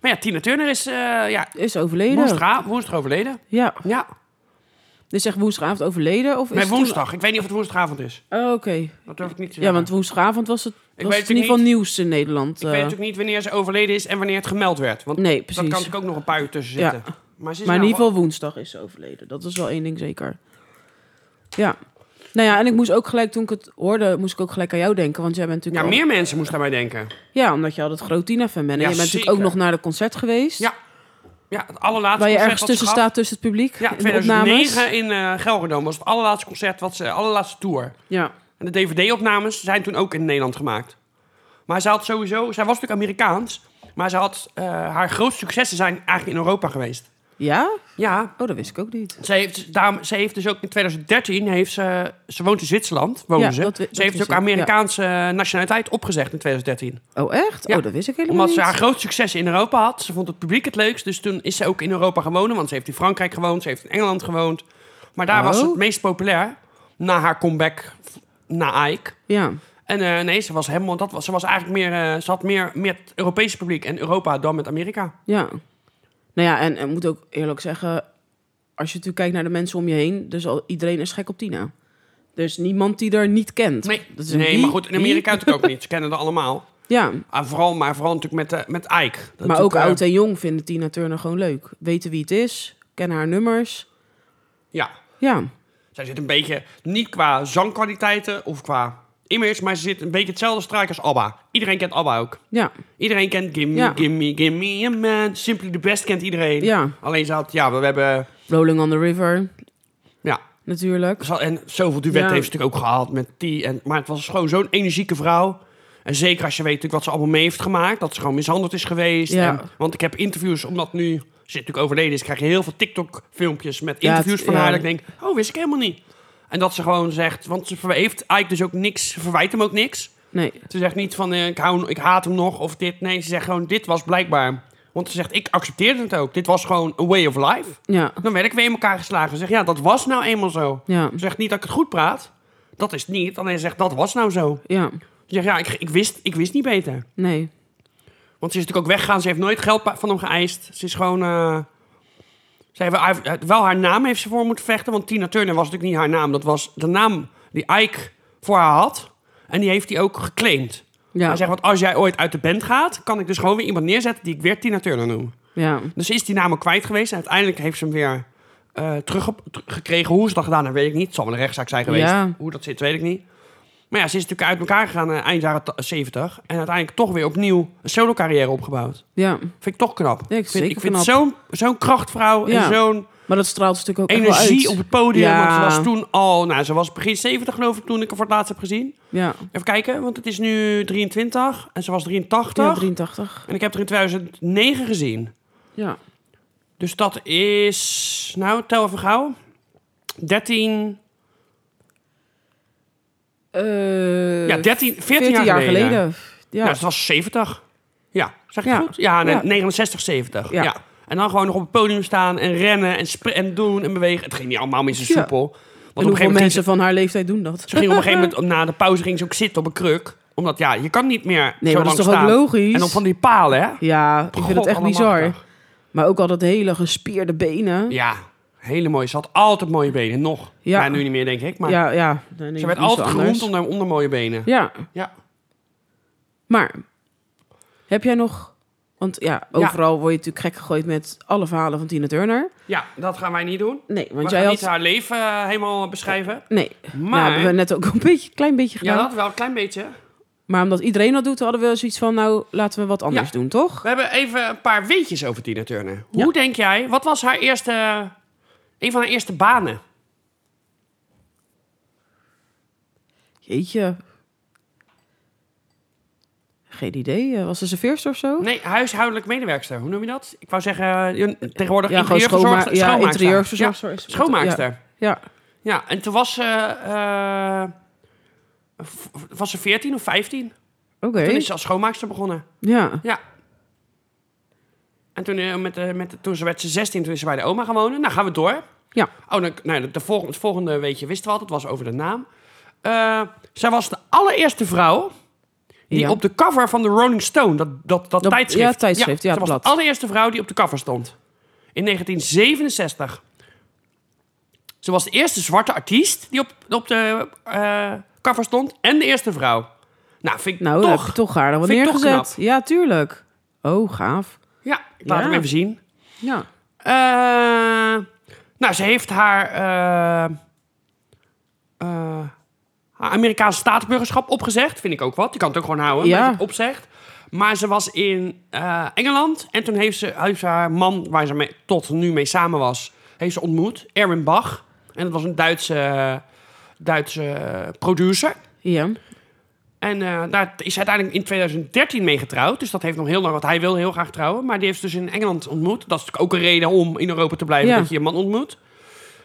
[SPEAKER 1] Maar ja, Tina Turner is eh, ja,
[SPEAKER 2] Is overleden.
[SPEAKER 1] woensdag, woensdag overleden.
[SPEAKER 2] Ja.
[SPEAKER 1] Ja,
[SPEAKER 2] Dus zeg woensdagavond overleden? Of is
[SPEAKER 1] nee,
[SPEAKER 2] het toen-
[SPEAKER 1] woensdag. Ik weet niet of het woensdagavond is.
[SPEAKER 2] Oh, Oké.
[SPEAKER 1] Dat durf ik niet te
[SPEAKER 2] Ja,
[SPEAKER 1] zeggen.
[SPEAKER 2] want woensdagavond was het, was
[SPEAKER 1] weet
[SPEAKER 2] het in
[SPEAKER 1] het
[SPEAKER 2] ieder geval nieuws in Nederland.
[SPEAKER 1] Ik weet
[SPEAKER 2] eh.
[SPEAKER 1] natuurlijk niet wanneer ze overleden is en wanneer het gemeld werd. Want
[SPEAKER 2] nee,
[SPEAKER 1] Dat kan
[SPEAKER 2] precies.
[SPEAKER 1] natuurlijk ook nog een paar uur tussen
[SPEAKER 2] Ja.
[SPEAKER 1] zitten. Maar, ze is
[SPEAKER 2] Maar in
[SPEAKER 1] nou
[SPEAKER 2] ieder geval woensdag is ze overleden. Dat is wel één ding zeker. Ja. Nou ja, en ik moest ook gelijk, toen ik het hoorde, moest ik ook gelijk aan jou denken. Want jij bent
[SPEAKER 1] wel- Ja,
[SPEAKER 2] natuurlijk al-
[SPEAKER 1] meer mensen moesten daarbij denken.
[SPEAKER 2] Ja, omdat je altijd groot Tina-fan bent. En
[SPEAKER 1] Ja,
[SPEAKER 2] je bent natuurlijk
[SPEAKER 1] zeker.
[SPEAKER 2] ook nog naar het concert geweest.
[SPEAKER 1] Ja, Ja, het allerlaatste
[SPEAKER 2] waar je
[SPEAKER 1] concert
[SPEAKER 2] ergens
[SPEAKER 1] wat
[SPEAKER 2] tussen
[SPEAKER 1] ze gaf-
[SPEAKER 2] staat tussen het publiek.
[SPEAKER 1] Ja,
[SPEAKER 2] in de opnames.
[SPEAKER 1] 2009 in eh Gelredome was het allerlaatste concert, wat ze, allerlaatste tour.
[SPEAKER 2] Ja.
[SPEAKER 1] En de DVD-opnames zijn toen ook in Nederland gemaakt. Maar ze had sowieso... Zij was natuurlijk Amerikaans. Maar ze had, eh, haar grootste successen zijn eigenlijk in Europa geweest.
[SPEAKER 2] Ja?
[SPEAKER 1] Ja,
[SPEAKER 2] Oh, dat wist ik ook niet.
[SPEAKER 1] Ze heeft, daarom, ze heeft dus ook in 2013, heeft ze, ze woont in Zwitserland, wonen
[SPEAKER 2] Ja,
[SPEAKER 1] ze.
[SPEAKER 2] dat we- dat
[SPEAKER 1] ze heeft dus
[SPEAKER 2] wist
[SPEAKER 1] ook
[SPEAKER 2] ik, ja.
[SPEAKER 1] Amerikaanse nationaliteit opgezegd in 2013.
[SPEAKER 2] Oh, echt?
[SPEAKER 1] Ja.
[SPEAKER 2] Oh, dat wist ik helemaal
[SPEAKER 1] Omdat ze
[SPEAKER 2] niet.
[SPEAKER 1] haar groot succes in Europa had. Ze vond het publiek het leukst, dus toen is ze ook in Europa gaan wonen. Want ze heeft in Frankrijk gewoond, ze heeft in Engeland gewoond. Maar daar was ze
[SPEAKER 2] Oh.
[SPEAKER 1] het meest populair, na haar comeback f- na Ike.
[SPEAKER 2] Ja.
[SPEAKER 1] En eh, nee, ze was helemaal, dat was, ze was eigenlijk meer, eh, ze had meer met het Europese publiek en Europa dan met Amerika.
[SPEAKER 2] Ja. Nou ja, en, en moet ook eerlijk zeggen, als je natuurlijk kijkt naar de mensen om je heen, dus al, iedereen is gek op Tina. Dus niemand die er niet kent.
[SPEAKER 1] Nee,
[SPEAKER 2] dat is
[SPEAKER 1] nee
[SPEAKER 2] wie-
[SPEAKER 1] maar goed, in
[SPEAKER 2] wie-
[SPEAKER 1] Amerika natuurlijk ook niet. Ze kennen het allemaal.
[SPEAKER 2] Ja,
[SPEAKER 1] Ah, vooral, maar vooral natuurlijk met, eh, met Ike. Dat
[SPEAKER 2] maar
[SPEAKER 1] is
[SPEAKER 2] ook
[SPEAKER 1] eh,
[SPEAKER 2] oud en jong vinden Tina Turner gewoon leuk. Weten wie het is, kennen haar nummers.
[SPEAKER 1] Ja,
[SPEAKER 2] Ja,
[SPEAKER 1] zij zit een beetje, niet qua zangkwaliteiten of qua image, maar ze zit een beetje hetzelfde straatje als ABBA. Iedereen kent ABBA ook.
[SPEAKER 2] ja,
[SPEAKER 1] Iedereen kent Gimme,
[SPEAKER 2] Ja.
[SPEAKER 1] Gimme, Gimme a Man. Simply the Best kent iedereen.
[SPEAKER 2] ja.
[SPEAKER 1] Alleen ze had, ja, we, we hebben,
[SPEAKER 2] Rolling on the River,
[SPEAKER 1] ja,
[SPEAKER 2] natuurlijk.
[SPEAKER 1] ze had- en zoveel duet
[SPEAKER 2] Ja.
[SPEAKER 1] heeft ze natuurlijk ook gehad met die. En, maar het was gewoon zo'n energieke vrouw. En zeker als je weet natuurlijk wat ze allemaal mee heeft gemaakt. Dat ze gewoon mishandeld is geweest.
[SPEAKER 2] Ja.
[SPEAKER 1] En, want ik heb interviews, omdat nu ze natuurlijk overleden is, krijg je heel veel TikTok-filmpjes met
[SPEAKER 2] Ja,
[SPEAKER 1] interviews
[SPEAKER 2] het-
[SPEAKER 1] van haar.
[SPEAKER 2] ja.
[SPEAKER 1] Dat ik denk, oh, wist ik helemaal niet. En dat ze gewoon zegt, want ze verwe- heeft eigenlijk dus ook niks, ze verwijt hem ook niks.
[SPEAKER 2] Nee.
[SPEAKER 1] Ze zegt niet van eh, ik, hou, ik haat hem nog of dit. Nee, ze zegt gewoon dit was blijkbaar. Want ze zegt ik accepteerde het ook. Dit was gewoon a way of life.
[SPEAKER 2] Ja.
[SPEAKER 1] Dan werd ik weer in elkaar geslagen. Ze zegt ja, dat was nou eenmaal zo.
[SPEAKER 2] Ja.
[SPEAKER 1] Ze zegt niet dat ik het goed praat. Dat is het niet. Alleen ze zegt dat was nou zo.
[SPEAKER 2] Ja.
[SPEAKER 1] Ze zegt ja, ik, ik, wist, ik wist niet beter.
[SPEAKER 2] Nee.
[SPEAKER 1] Want ze is natuurlijk ook weggegaan. Ze heeft nooit geld pa- van hem geëist. Ze is gewoon... eh, ze heeft, hij heeft- wel haar naam heeft ze voor moeten vechten. Want Tina Turner was natuurlijk niet haar naam. Dat was de naam die Ike voor haar had. En die heeft hij ook geclaimd.
[SPEAKER 2] Ja.
[SPEAKER 1] Hij zegt, want als jij ooit uit de band gaat, kan ik dus gewoon weer iemand neerzetten die ik weer Tina Turner noem.
[SPEAKER 2] Ja.
[SPEAKER 1] Dus ze is die naam ook kwijt geweest. En uiteindelijk heeft ze hem weer eh terug op- ter- gekregen. Hoe ze dat gedaan heeft, weet ik niet. Het zal wel een rechtszaak zijn geweest.
[SPEAKER 2] Ja.
[SPEAKER 1] Hoe dat zit, weet ik niet. Maar ja, ze is natuurlijk uit elkaar gegaan eh, eind jaren ta- 70. En uiteindelijk toch weer opnieuw een solo carrière opgebouwd.
[SPEAKER 2] Ja.
[SPEAKER 1] Vind ik toch knap.
[SPEAKER 2] Ja, ik
[SPEAKER 1] ik vind,
[SPEAKER 2] zeker
[SPEAKER 1] ik vind
[SPEAKER 2] knap.
[SPEAKER 1] zo'n zo'n krachtvrouw
[SPEAKER 2] Ja.
[SPEAKER 1] en zo'n
[SPEAKER 2] Maar dat straalt natuurlijk ook echt wel
[SPEAKER 1] energie op
[SPEAKER 2] uit.
[SPEAKER 1] het podium.
[SPEAKER 2] Ja.
[SPEAKER 1] Want ze was toen al, nou ze was begin 70 geloof ik toen ik haar voor het laatst heb gezien.
[SPEAKER 2] Ja.
[SPEAKER 1] Even kijken, want het is nu 23 en ze was 83.
[SPEAKER 2] Ja, 83.
[SPEAKER 1] En ik heb er in 2009 gezien.
[SPEAKER 2] Ja.
[SPEAKER 1] Dus dat is, nou, tel even gauw. 13,
[SPEAKER 2] Eh,
[SPEAKER 1] ja, 13, 14,
[SPEAKER 2] 14
[SPEAKER 1] jaar, geleden.
[SPEAKER 2] Ja.
[SPEAKER 1] Ja, dus het was 70. Ja, zeg ik
[SPEAKER 2] Ja.
[SPEAKER 1] het goed? Ja, nee,
[SPEAKER 2] Ja.
[SPEAKER 1] 69, 70.
[SPEAKER 2] Ja.
[SPEAKER 1] Ja. En dan gewoon nog op het podium staan en rennen en, spr- en doen en bewegen. Het ging niet allemaal meer zo soepel. Want
[SPEAKER 2] en hoeveel mensen van haar leeftijd doen dat?
[SPEAKER 1] Ze ging op een gegeven moment, na de pauze ging ze ook zitten op een kruk. Omdat ja, je kan niet meer
[SPEAKER 2] Nee,
[SPEAKER 1] zo
[SPEAKER 2] maar
[SPEAKER 1] lang
[SPEAKER 2] dat is toch ook
[SPEAKER 1] staan.
[SPEAKER 2] logisch?
[SPEAKER 1] En dan van die palen, hè?
[SPEAKER 2] Ja, ik vind het echt bizar.
[SPEAKER 1] Godallemachtig.
[SPEAKER 2] Maar ook al dat hele gespierde benen.
[SPEAKER 1] Ja, hele mooi. Ze had altijd mooie benen, nog.
[SPEAKER 2] Ja.
[SPEAKER 1] Ja, nu niet meer, denk ik. Maar
[SPEAKER 2] ja, ja. Dan denk
[SPEAKER 1] ze
[SPEAKER 2] ik
[SPEAKER 1] werd
[SPEAKER 2] niet
[SPEAKER 1] altijd
[SPEAKER 2] zo
[SPEAKER 1] geroemd
[SPEAKER 2] anders.
[SPEAKER 1] onder, onder mooie benen.
[SPEAKER 2] Ja,
[SPEAKER 1] Ja.
[SPEAKER 2] maar heb jij nog... Want ja, overal word je natuurlijk gek gegooid met alle verhalen van Tina Turner.
[SPEAKER 1] ja, dat gaan wij niet doen.
[SPEAKER 2] Nee, want
[SPEAKER 1] we
[SPEAKER 2] jij
[SPEAKER 1] gaan
[SPEAKER 2] had...
[SPEAKER 1] niet haar leven eh, helemaal beschrijven.
[SPEAKER 2] Nee, maar...
[SPEAKER 1] Maar-
[SPEAKER 2] hebben we net ook een beetje, klein beetje
[SPEAKER 1] Ja,
[SPEAKER 2] gedaan.
[SPEAKER 1] dat wel, een klein beetje.
[SPEAKER 2] Maar omdat iedereen dat doet, hadden we zoiets van... Nou, laten we wat anders
[SPEAKER 1] Ja.
[SPEAKER 2] doen, toch?
[SPEAKER 1] We hebben even een paar weetjes over Tina Turner. Hoe
[SPEAKER 2] Ja.
[SPEAKER 1] denk jij, wat was haar eerste, een van haar eerste banen?
[SPEAKER 2] Jeetje. Geen idee. eh, Was ze serveerster of zo?
[SPEAKER 1] Nee, huishoudelijk medewerkster. Hoe noem je dat? Ik wou zeggen, eh, tegenwoordig
[SPEAKER 2] ja, gewoon
[SPEAKER 1] interieurverzorgster.
[SPEAKER 2] schoonma- Ja,
[SPEAKER 1] schoonmaakster.
[SPEAKER 2] interieurverzorgster.
[SPEAKER 1] Ja,
[SPEAKER 2] is-
[SPEAKER 1] schoonmaakster.
[SPEAKER 2] Ja.
[SPEAKER 1] Ja.
[SPEAKER 2] ja.
[SPEAKER 1] en toen was ze... eh, v- was ze 14 of 15?
[SPEAKER 2] Oké.
[SPEAKER 1] Toen is ze als schoonmaakster begonnen.
[SPEAKER 2] Ja.
[SPEAKER 1] Ja. En toen, eh, met, de- met, de- toen ze werd ze 16, toen is ze bij de oma gaan wonen. Nou, gaan we door.
[SPEAKER 2] Ja.
[SPEAKER 1] Oh, dan, nou, de, de volgende, het volgende weetje wisten we al. Dat was over de naam. Eh, zij was de allereerste vrouw die
[SPEAKER 2] Ja.
[SPEAKER 1] op de cover van de Rolling Stone, dat, dat, dat,
[SPEAKER 2] Dat-
[SPEAKER 1] tijdschrift.
[SPEAKER 2] ja, tijdschrift, ja,
[SPEAKER 1] Ze was
[SPEAKER 2] blad.
[SPEAKER 1] de allereerste vrouw die op de cover stond. In 1967. Ze was de eerste zwarte artiest die op, op de eh, cover stond. En de eerste vrouw. Nou, vind ik
[SPEAKER 2] Nou, dan heb
[SPEAKER 1] toch...
[SPEAKER 2] je toch haar dan wel
[SPEAKER 1] Vind ik toch
[SPEAKER 2] neergezet. Ja, tuurlijk. Oh, gaaf.
[SPEAKER 1] Ja, ik laat
[SPEAKER 2] Ja.
[SPEAKER 1] hem even zien.
[SPEAKER 2] Ja.
[SPEAKER 1] Eh, nou, ze heeft haar, eh, eh, haar Amerikaanse staatsburgerschap opgezegd. Vind ik ook wat. Je kan het ook gewoon houden
[SPEAKER 2] Ja.
[SPEAKER 1] dat je het opzegt. Maar ze was in eh, Engeland. En toen heeft ze, heeft ze haar man, waar ze mee- tot nu mee samen was, heeft ze ontmoet. Erwin Bach. En dat was een Duitse, Duitse producer.
[SPEAKER 2] Ja.
[SPEAKER 1] En eh, daar is hij uiteindelijk in 2013 mee getrouwd. Dus dat heeft nog heel lang, want hij wil heel graag trouwen. Maar die heeft ze dus in Engeland ontmoet. Dat is natuurlijk ook een reden om in Europa te blijven,
[SPEAKER 2] Ja.
[SPEAKER 1] dat je je man ontmoet.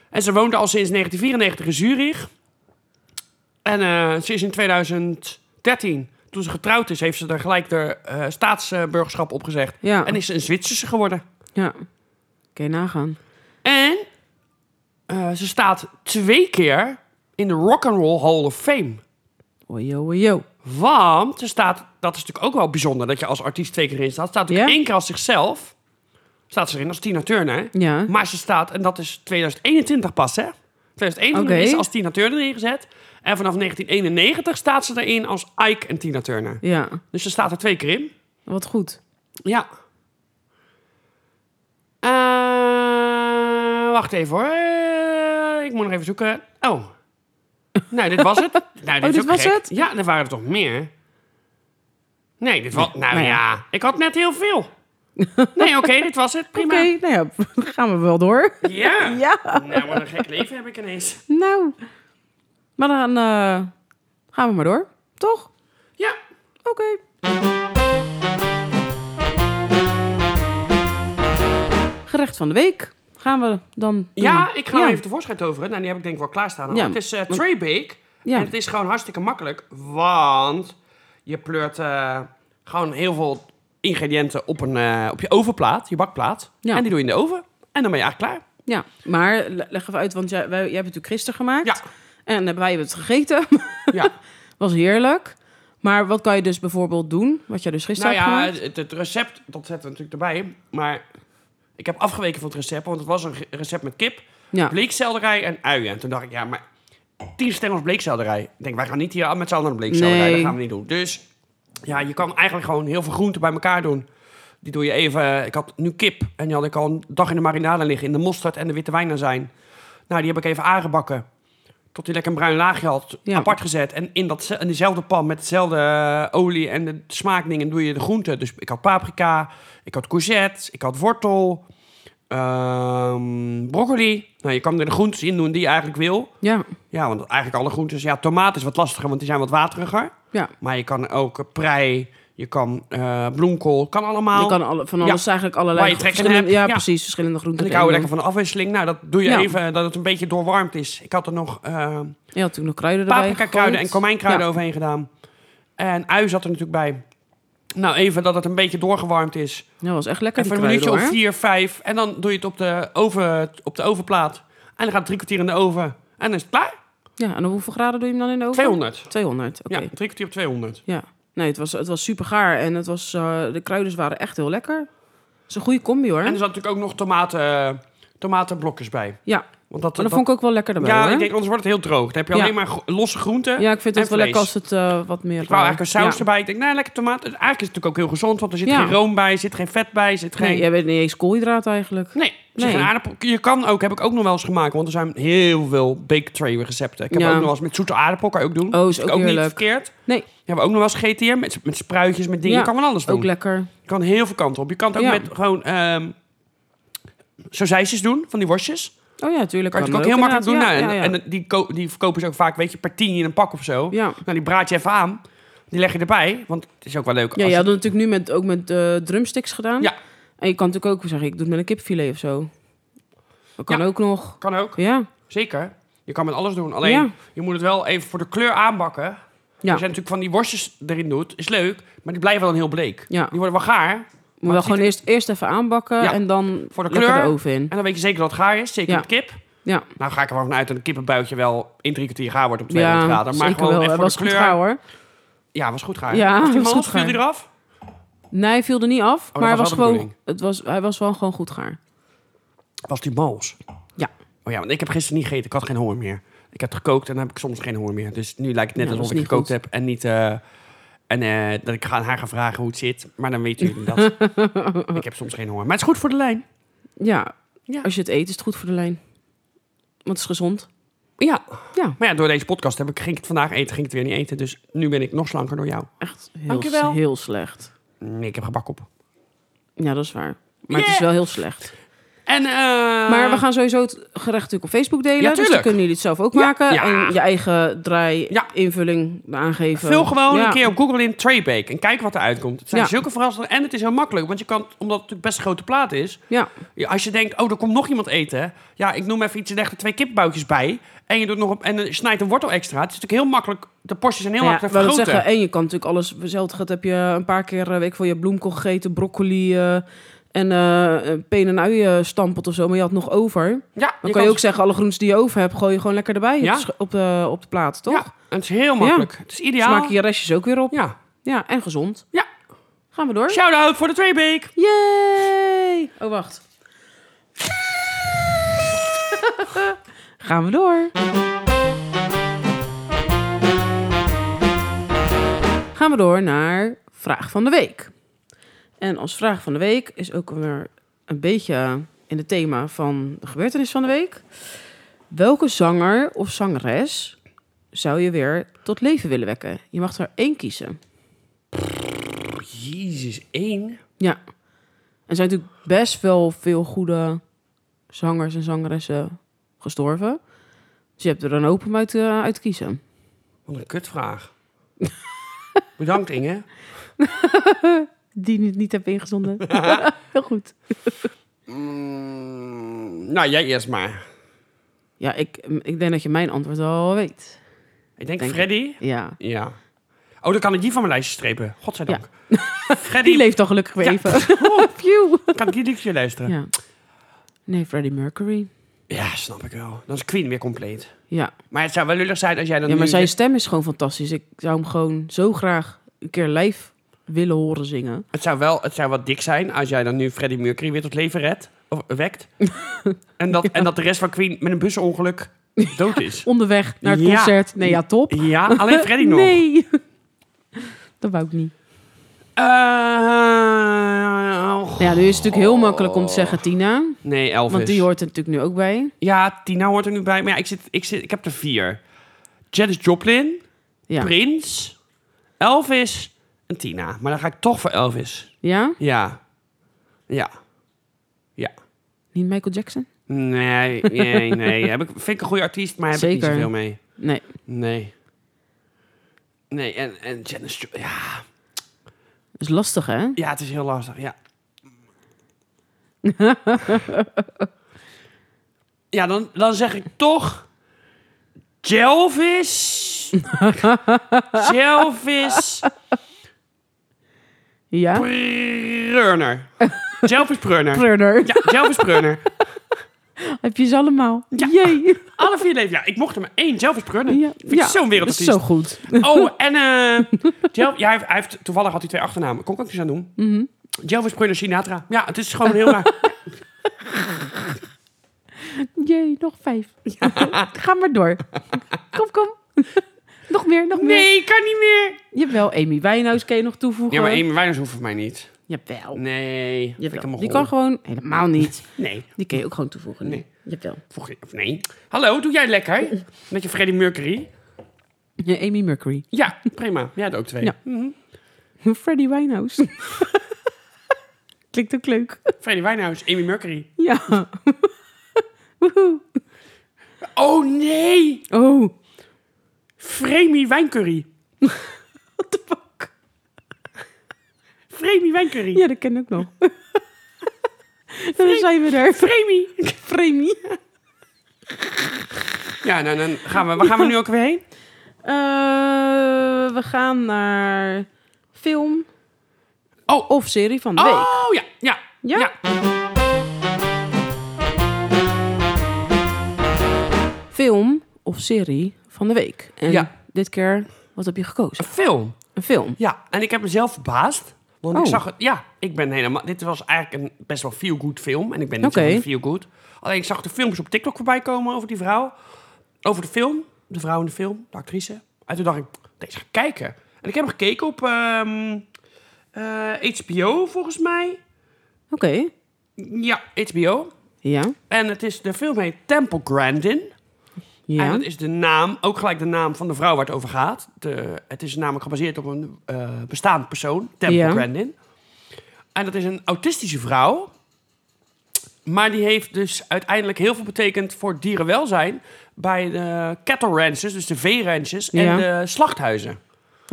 [SPEAKER 1] En ze woonde al sinds 1994 in Zurich. En eh, ze is in 2013, toen ze getrouwd is, heeft ze er gelijk de eh, staatsburgerschap opgezegd.
[SPEAKER 2] Ja.
[SPEAKER 1] En is ze een Zwitserse geworden.
[SPEAKER 2] Ja. Kun je nagaan.
[SPEAKER 1] En eh, ze staat twee keer in de Rock'n'Roll Hall of Fame.
[SPEAKER 2] Ojo, ojo.
[SPEAKER 1] Want er staat, dat is natuurlijk ook wel bijzonder dat je als artiest twee keer in staat. Staat natuurlijk
[SPEAKER 2] Ja.
[SPEAKER 1] één keer als zichzelf. Staat ze erin als Tina Turner.
[SPEAKER 2] Ja.
[SPEAKER 1] Maar ze staat, en dat is 2021 pas, hè? 2021
[SPEAKER 2] Oké.
[SPEAKER 1] is ze als Tina Turner ingezet. En vanaf 1991 staat ze erin als Ike en Tina Turner.
[SPEAKER 2] Ja.
[SPEAKER 1] Dus ze staat er twee keer in.
[SPEAKER 2] Wat goed.
[SPEAKER 1] Ja. Eh, wacht even hoor. Eh, ik moet nog even zoeken. Oh. Nou, dit was het. Nou, dit is
[SPEAKER 2] Oh, dit
[SPEAKER 1] ook
[SPEAKER 2] was
[SPEAKER 1] gek.
[SPEAKER 2] het?
[SPEAKER 1] Ja, er waren er toch meer? Nee, dit was... Nou
[SPEAKER 2] nou ja.
[SPEAKER 1] ja, ik had net heel veel. Nee, oké, dit was het.
[SPEAKER 2] Oké,
[SPEAKER 1] Prima.
[SPEAKER 2] nou ja, gaan we wel door.
[SPEAKER 1] Ja.
[SPEAKER 2] Ja.
[SPEAKER 1] Nou, wat een gek leven heb ik ineens.
[SPEAKER 2] Nou. Maar dan eh, gaan we maar door. Toch?
[SPEAKER 1] Ja.
[SPEAKER 2] Oké. oké. Gerecht van de week gaan we dan doen.
[SPEAKER 1] Ja, ik ga
[SPEAKER 2] Ja.
[SPEAKER 1] even tevoorschijn toveren. Nou, die heb ik denk ik wel klaarstaan.
[SPEAKER 2] Ja.
[SPEAKER 1] Het is eh tray bake.
[SPEAKER 2] Ja.
[SPEAKER 1] En het is gewoon hartstikke makkelijk. Want je pleurt eh, gewoon heel veel ingrediënten op, een, eh, op je ovenplaat, je bakplaat.
[SPEAKER 2] Ja.
[SPEAKER 1] En die doe je in de oven. En dan ben je eigenlijk klaar.
[SPEAKER 2] Ja, maar le- leg even uit, want jij, wij, jij hebt natuurlijk gisteren gemaakt.
[SPEAKER 1] Ja.
[SPEAKER 2] En hebben wij het gegeten.
[SPEAKER 1] Ja.
[SPEAKER 2] Was heerlijk. Maar wat kan je dus bijvoorbeeld doen? Wat jij dus
[SPEAKER 1] Nou
[SPEAKER 2] gisteren hebt
[SPEAKER 1] ja,
[SPEAKER 2] gemaakt?
[SPEAKER 1] het, het recept, dat zetten we natuurlijk erbij. Maar ik heb afgeweken van het recept, want het was een ge- recept met kip,
[SPEAKER 2] Ja.
[SPEAKER 1] bleekselderij en uien. En toen dacht ik, ja, maar tien stengels bleekselderij. Ik denk, wij gaan niet hier met z'n allen een bleekselderij,
[SPEAKER 2] Nee.
[SPEAKER 1] dat gaan we niet doen. Dus ja, je kan eigenlijk gewoon heel veel groenten bij elkaar doen. Die doe je even, ik had nu kip en die had ik al een dag in de marinade liggen, in de mosterd en de witte wijn zijn. Nou, die heb ik even aangebakken. Tot die lekker een bruin laagje had,
[SPEAKER 2] Ja.
[SPEAKER 1] apart gezet. En in, dat, in diezelfde pan met dezelfde eh, olie en de smaakdingen doe je de groenten. Dus ik had paprika, ik had courgette, ik had wortel, ehm, broccoli. Nou, je kan er de groentes in doen die je eigenlijk wil.
[SPEAKER 2] Ja.
[SPEAKER 1] Ja, want eigenlijk alle groentes. Ja, tomaat is wat lastiger, want die zijn wat wateriger.
[SPEAKER 2] ja.
[SPEAKER 1] Maar je kan ook eh, prei, je kan eh, bloemkool, kan allemaal.
[SPEAKER 2] Je kan alle, van alles eigenlijk allerlei...
[SPEAKER 1] Waar je trek in
[SPEAKER 2] verschillende-
[SPEAKER 1] hebt.
[SPEAKER 2] Ja,
[SPEAKER 1] Ja.
[SPEAKER 2] precies. Verschillende groenten.
[SPEAKER 1] En ik hou
[SPEAKER 2] erin
[SPEAKER 1] lekker van de afwisseling. Nou, dat doe je
[SPEAKER 2] Ja.
[SPEAKER 1] even, dat het een beetje doorwarmd is. Ik had er nog... eh,
[SPEAKER 2] dan. Je had toen nog kruiden erbij
[SPEAKER 1] paprika kruiden en
[SPEAKER 2] gegooid.
[SPEAKER 1] komijnkruiden
[SPEAKER 2] Ja.
[SPEAKER 1] overheen gedaan. En ui zat er natuurlijk bij. Nou, even dat het een beetje doorgewarmd is.
[SPEAKER 2] Ja, was echt lekker.
[SPEAKER 1] Even een
[SPEAKER 2] die
[SPEAKER 1] minuutje of
[SPEAKER 2] kruiden, hoor.
[SPEAKER 1] vier, vijf. En dan doe je het op de, oven, op de ovenplaat. En dan gaat het drie kwartier in de oven. En dan is het klaar.
[SPEAKER 2] Ja, en hoeveel graden doe je hem dan in de oven?
[SPEAKER 1] 200.
[SPEAKER 2] 200, oké.
[SPEAKER 1] Ja, drie kwartier op 200.
[SPEAKER 2] Ja. Nee, het was, het was super gaar. En het was, eh, de kruiden waren echt heel lekker. Het is een goede combi, hoor.
[SPEAKER 1] En er zat natuurlijk ook nog tomaten, tomatenblokjes bij.
[SPEAKER 2] Ja, maar
[SPEAKER 1] Want dat,
[SPEAKER 2] dat, vond ik ook wel lekker erbij,
[SPEAKER 1] dus- Ja,
[SPEAKER 2] hoor.
[SPEAKER 1] ik denk, anders wordt het heel droog. Dan heb je
[SPEAKER 2] Ja.
[SPEAKER 1] alleen maar gro- losse groenten.
[SPEAKER 2] Ja, ik vind
[SPEAKER 1] en
[SPEAKER 2] het wel lekker als
[SPEAKER 1] vlees.
[SPEAKER 2] het eh, wat meer...
[SPEAKER 1] Ik wou eigenlijk een saus
[SPEAKER 2] ja.
[SPEAKER 1] erbij. Ik denk, nou, lekker tomaat. Eigenlijk is het natuurlijk ook heel gezond, want er zit
[SPEAKER 2] Ja.
[SPEAKER 1] geen room bij, zit geen vet bij, zit geen...
[SPEAKER 2] Nee, jij bent niet eens koolhydraten eigenlijk.
[SPEAKER 1] Nee, er zit
[SPEAKER 2] Nee.
[SPEAKER 1] geen aardappel. Je kan ook, heb ik ook nog wel eens gemaakt, want er zijn heel veel bake tray recepten. Ik heb
[SPEAKER 2] Ja.
[SPEAKER 1] ook nog wel eens met zoete aardappel, kan je ook doen.
[SPEAKER 2] Oh, is
[SPEAKER 1] Vind ik
[SPEAKER 2] ook
[SPEAKER 1] ook niet
[SPEAKER 2] heerlijk.
[SPEAKER 1] verkeerd.
[SPEAKER 2] Nee,
[SPEAKER 1] We hebben ook nog wel eens gegeten hier, met, met spruitjes, met dingen.
[SPEAKER 2] Ja,
[SPEAKER 1] Je kan van alles doen.
[SPEAKER 2] ook lekker.
[SPEAKER 1] Je kan heel veel kanten op. Je kan het ook
[SPEAKER 2] Ja.
[SPEAKER 1] met gewoon ehm sausijsjes doen, van die worstjes.
[SPEAKER 2] Oh ja, tuurlijk.
[SPEAKER 1] Kan je natuurlijk
[SPEAKER 2] dat
[SPEAKER 1] ook heel makkelijk doen.
[SPEAKER 2] inderdaad.
[SPEAKER 1] Nou,
[SPEAKER 2] Ja,
[SPEAKER 1] En,
[SPEAKER 2] ja,
[SPEAKER 1] en die, ko- die verkopen ze ook vaak, weet je, per tien in een pak of zo.
[SPEAKER 2] ja.
[SPEAKER 1] Nou, die braad je even aan. Die leg je erbij, want het is ook wel leuk.
[SPEAKER 2] Ja,
[SPEAKER 1] als
[SPEAKER 2] je
[SPEAKER 1] het-
[SPEAKER 2] had het natuurlijk nu met, ook met eh, drumsticks gedaan.
[SPEAKER 1] Ja.
[SPEAKER 2] En je kan natuurlijk ook zeggen, ik doe het met een kipfilet of zo. Dat kan
[SPEAKER 1] Ja.
[SPEAKER 2] ook nog.
[SPEAKER 1] Kan ook,
[SPEAKER 2] Ja.
[SPEAKER 1] zeker. Je kan met alles doen. Alleen,
[SPEAKER 2] Ja.
[SPEAKER 1] je moet het wel even voor de kleur aanbakken.
[SPEAKER 2] Ja.
[SPEAKER 1] Als je natuurlijk van die worstjes erin doet, is leuk, maar die blijven dan heel bleek.
[SPEAKER 2] Ja.
[SPEAKER 1] Die worden wel gaar.
[SPEAKER 2] Moet wel gewoon eerst, eerst even aanbakken
[SPEAKER 1] Ja.
[SPEAKER 2] en dan
[SPEAKER 1] Voor de
[SPEAKER 2] lekker
[SPEAKER 1] kleur.
[SPEAKER 2] de oven in.
[SPEAKER 1] En dan weet je zeker dat het gaar is, zeker
[SPEAKER 2] Ja.
[SPEAKER 1] met kip.
[SPEAKER 2] Ja,
[SPEAKER 1] Nou ga ik er wel vanuit dat een kippenbuitje wel in drie kwartier gaar wordt op 200
[SPEAKER 2] ja
[SPEAKER 1] graden. Maar
[SPEAKER 2] zeker
[SPEAKER 1] gewoon
[SPEAKER 2] wel.
[SPEAKER 1] echt
[SPEAKER 2] Hij
[SPEAKER 1] voor
[SPEAKER 2] was
[SPEAKER 1] de
[SPEAKER 2] goed
[SPEAKER 1] kleur.
[SPEAKER 2] gaar hoor.
[SPEAKER 1] Ja, was goed gaar.
[SPEAKER 2] Ja,
[SPEAKER 1] was die
[SPEAKER 2] was
[SPEAKER 1] mals?
[SPEAKER 2] goed
[SPEAKER 1] Viel
[SPEAKER 2] gaar.
[SPEAKER 1] die eraf?
[SPEAKER 2] Nee, hij viel er niet af,
[SPEAKER 1] Oh, dat
[SPEAKER 2] maar hij
[SPEAKER 1] was
[SPEAKER 2] was,
[SPEAKER 1] wel de
[SPEAKER 2] gewoon,
[SPEAKER 1] bedoeling.
[SPEAKER 2] het was, hij was wel gewoon goed gaar.
[SPEAKER 1] Was die mals?
[SPEAKER 2] Ja.
[SPEAKER 1] Oh ja, want ik heb gisteren niet gegeten. Ik had geen honger meer. Ik heb gekookt en dan heb ik soms geen honger meer. Dus nu lijkt het net
[SPEAKER 2] Ja, dat
[SPEAKER 1] alsof ik
[SPEAKER 2] is niet
[SPEAKER 1] gekookt
[SPEAKER 2] goed.
[SPEAKER 1] heb en niet... eh, en eh, dat ik ga aan haar gaan vragen hoe het zit. Maar dan weet jullie dat. ik heb soms geen honger. Maar het is goed voor de lijn.
[SPEAKER 2] Ja.
[SPEAKER 1] Ja.
[SPEAKER 2] als je het eet is het goed voor de lijn. Want het is gezond.
[SPEAKER 1] Ja.
[SPEAKER 2] Ja.
[SPEAKER 1] Maar ja, door deze podcast heb ik, ging ik het vandaag eten, ging ik het weer niet eten. Dus nu ben ik nog slanker door jou.
[SPEAKER 2] Echt heel,
[SPEAKER 1] Dankjewel.
[SPEAKER 2] heel slecht.
[SPEAKER 1] Nee, ik heb gebak op.
[SPEAKER 2] Ja, dat is waar. Maar het
[SPEAKER 1] Yeah.
[SPEAKER 2] is wel heel slecht.
[SPEAKER 1] En, eh,
[SPEAKER 2] Maar we gaan sowieso het gerecht natuurlijk op Facebook delen.
[SPEAKER 1] Ja,
[SPEAKER 2] dus dan
[SPEAKER 1] tuurlijk.
[SPEAKER 2] kunnen jullie het zelf ook
[SPEAKER 1] Ja.
[SPEAKER 2] maken.
[SPEAKER 1] Ja.
[SPEAKER 2] En je eigen draai,
[SPEAKER 1] Ja.
[SPEAKER 2] invulling aangeven.
[SPEAKER 1] Vul gewoon
[SPEAKER 2] Ja.
[SPEAKER 1] een keer op Google in traybake en kijk wat eruit komt. Het zijn
[SPEAKER 2] Ja.
[SPEAKER 1] zulke verrassingen. En het is heel makkelijk, want je kan, omdat het natuurlijk best een grote plaat is...
[SPEAKER 2] Ja,
[SPEAKER 1] Ja, Als je denkt, oh, er komt nog iemand eten. Ja, ik noem even iets, je legt er twee kipboutjes bij. En je doet nog op, en eh, snijdt een wortel extra. Het is natuurlijk heel makkelijk. De porties zijn heel
[SPEAKER 2] Nou ja,
[SPEAKER 1] makkelijk te
[SPEAKER 2] wou dat
[SPEAKER 1] vergroten.
[SPEAKER 2] zeggen. En je kan natuurlijk alles... Zelfde gaat heb je een paar keer, eh, weet ik veel, je hebt bloemkool gegeten, broccoli... eh, en eh eh, peen en uien stampelt of zo, maar je had nog over. Dan
[SPEAKER 1] ja,
[SPEAKER 2] kan je ook zeggen, alle groentes die je over hebt, gooi je gewoon lekker erbij op
[SPEAKER 1] Ja.
[SPEAKER 2] de sch- op, de, op de plaat, toch?
[SPEAKER 1] Ja, en het is heel makkelijk. Het is ideaal.
[SPEAKER 2] Smaak je je restjes ook weer op. Ja,
[SPEAKER 1] Ja.
[SPEAKER 2] en gezond.
[SPEAKER 1] Ja.
[SPEAKER 2] Gaan we door.
[SPEAKER 1] Shout-out voor de traybake.
[SPEAKER 2] Yay! Oh, wacht. Gaan we door. Gaan we door naar vraag van de week. En als vraag van de week is ook weer een beetje in het thema van de gebeurtenis van de week. Welke zanger of zangeres zou je weer tot leven willen wekken? Je mag er één kiezen.
[SPEAKER 1] Jezus, één.
[SPEAKER 2] Ja. Er zijn natuurlijk best wel veel goede zangers en zangeressen gestorven. Dus je hebt er een hoop om uit, eh, uit te kiezen.
[SPEAKER 1] Wat een kutvraag. Bedankt, Inge.
[SPEAKER 2] Die niet, niet heb ingezonden. Heel goed.
[SPEAKER 1] Mm, nou, jij eerst maar.
[SPEAKER 2] Ja, ik, ik denk dat je mijn antwoord al weet.
[SPEAKER 1] Ik denk,
[SPEAKER 2] Denk-
[SPEAKER 1] Freddy.
[SPEAKER 2] Ja.
[SPEAKER 1] Ja. Oh, dan kan ik die van mijn lijstje strepen. Godzijdank. Freddy,
[SPEAKER 2] Die leeft al gelukkig weer
[SPEAKER 1] Ja.
[SPEAKER 2] even. Phew.
[SPEAKER 1] kan ik die liedje luisteren? Ja.
[SPEAKER 2] Ja. Nee, Freddie Mercury.
[SPEAKER 1] snap ik wel. Dan is Queen weer compleet.
[SPEAKER 2] Ja.
[SPEAKER 1] Maar het zou wel lullig zijn als jij dan
[SPEAKER 2] ja, maar
[SPEAKER 1] nu-
[SPEAKER 2] zijn stem is gewoon fantastisch. Ik zou hem gewoon zo graag een keer live willen horen zingen.
[SPEAKER 1] Het zou wel, het zou wat dik zijn als jij dan nu Freddie Mercury weer tot leven redt, of wekt. en, dat, en dat de rest van Queen met een busongeluk dood is.
[SPEAKER 2] Onderweg naar het
[SPEAKER 1] Ja.
[SPEAKER 2] concert. Nee, ja, top.
[SPEAKER 1] Ja, alleen Freddy nog.
[SPEAKER 2] Nee. Dat wou ik niet.
[SPEAKER 1] Eh, oh,
[SPEAKER 2] Nou ja, nu is het natuurlijk heel makkelijk om te zeggen Tina.
[SPEAKER 1] nee, Elvis.
[SPEAKER 2] Want die hoort er natuurlijk nu ook bij.
[SPEAKER 1] Ja, Tina hoort er nu bij. Maar ja, ik, zit, ik, zit, ik heb er vier. Janis Joplin,
[SPEAKER 2] Ja.
[SPEAKER 1] Prins, Elvis en Tina. Maar dan ga ik toch voor Elvis.
[SPEAKER 2] Ja?
[SPEAKER 1] Ja. Ja. Ja.
[SPEAKER 2] Niet Michael Jackson?
[SPEAKER 1] Nee, nee, nee. Heb ik, vind ik een goede artiest, maar heb ik
[SPEAKER 2] Zeker.
[SPEAKER 1] niet zoveel mee.
[SPEAKER 2] Nee.
[SPEAKER 1] Nee. Nee, en, en Janis Jo- Ja.
[SPEAKER 2] Dat is lastig, hè?
[SPEAKER 1] ja, het is heel lastig. Ja. ja, dan, dan zeg ik toch... Jelvis. Jelvis
[SPEAKER 2] Ja?
[SPEAKER 1] Preuner. Jelvis Preuner.
[SPEAKER 2] Prunner.
[SPEAKER 1] Ja, Jelvis Preuner.
[SPEAKER 2] Heb je ze allemaal?
[SPEAKER 1] Ja.
[SPEAKER 2] Jee.
[SPEAKER 1] Alle vier leven. Ja, ik mocht er maar één Jelvis Preuner.
[SPEAKER 2] Ja.
[SPEAKER 1] Vind ik zo'n wereldartiest.
[SPEAKER 2] Zo goed.
[SPEAKER 1] Oh, en eh Jel- ja, hij, heeft, hij heeft- toevallig had hij twee achternamen. Kon ik ook niks aan doen.
[SPEAKER 2] Mhm.
[SPEAKER 1] Jelvis Preuner Sinatra. Ja, het is gewoon heel raar.
[SPEAKER 2] Jee, nog vijf. Ga maar door. Kom, kom. Nog meer, nog meer.
[SPEAKER 1] Nee, kan niet meer.
[SPEAKER 2] Jawel, Amy Wijnhuis kan je nog toevoegen.
[SPEAKER 1] Ja, maar Amy Winehouse hoeft voor mij niet.
[SPEAKER 2] Jawel.
[SPEAKER 1] Nee. vind ik
[SPEAKER 2] Jawel.
[SPEAKER 1] hem een
[SPEAKER 2] Die kan
[SPEAKER 1] rol.
[SPEAKER 2] gewoon helemaal niet.
[SPEAKER 1] Nee.
[SPEAKER 2] Die kun je ook gewoon toevoegen.
[SPEAKER 1] Nee.
[SPEAKER 2] Nee. Jawel.
[SPEAKER 1] Vroeg je- of nee. Hallo, doe jij lekker? Met je Freddie Mercury.
[SPEAKER 2] Ja, Amy Mercury.
[SPEAKER 1] Ja, prima. Jij had ook twee.
[SPEAKER 2] Ja. Freddie Wijnhuis. Klinkt ook leuk.
[SPEAKER 1] Freddie Winehouse, Amy Mercury.
[SPEAKER 2] Ja. Woehoe.
[SPEAKER 1] Oh nee!
[SPEAKER 2] Oh.
[SPEAKER 1] Fremi Wijncurry.
[SPEAKER 2] What the fuck?
[SPEAKER 1] Fremi Wijncurry.
[SPEAKER 2] Ja, dat ken ik nog. Dan zijn we er. Fremi. Fremi.
[SPEAKER 1] Ja, nou, dan gaan we, waar gaan we nu ook weer heen?
[SPEAKER 2] Eh, we gaan naar film
[SPEAKER 1] Oh,
[SPEAKER 2] of serie van de week.
[SPEAKER 1] oh ja, ja,
[SPEAKER 2] Ja? Film of serie van de week. En
[SPEAKER 1] Ja.
[SPEAKER 2] dit keer, wat heb je gekozen?
[SPEAKER 1] Een film.
[SPEAKER 2] Een film.
[SPEAKER 1] Ja, en ik heb mezelf verbaasd. Want ik
[SPEAKER 2] Oh.
[SPEAKER 1] zag het. Ja, ik ben helemaal. Dit was eigenlijk een best wel feel good film. En ik ben niet
[SPEAKER 2] Oké.
[SPEAKER 1] zo feel good. Alleen ik zag de films op TikTok voorbij komen over die vrouw. Over de film. De vrouw in de film, de actrice. En toen dacht ik, deze ga ik kijken. En ik heb gekeken op ehm, eh, HBO volgens mij.
[SPEAKER 2] Oké.
[SPEAKER 1] Ja, HBO.
[SPEAKER 2] Ja.
[SPEAKER 1] En het is, de film heet Temple Grandin. En
[SPEAKER 2] Ja.
[SPEAKER 1] dat is de naam, ook gelijk de naam van de vrouw waar het over gaat. De, het is namelijk gebaseerd op een eh, bestaand persoon, Temple
[SPEAKER 2] Ja.
[SPEAKER 1] Grandin. En dat is een autistische vrouw. Maar die heeft dus uiteindelijk heel veel betekend voor dierenwelzijn... bij de cattle ranches, dus de veeranches en
[SPEAKER 2] Ja.
[SPEAKER 1] de slachthuizen.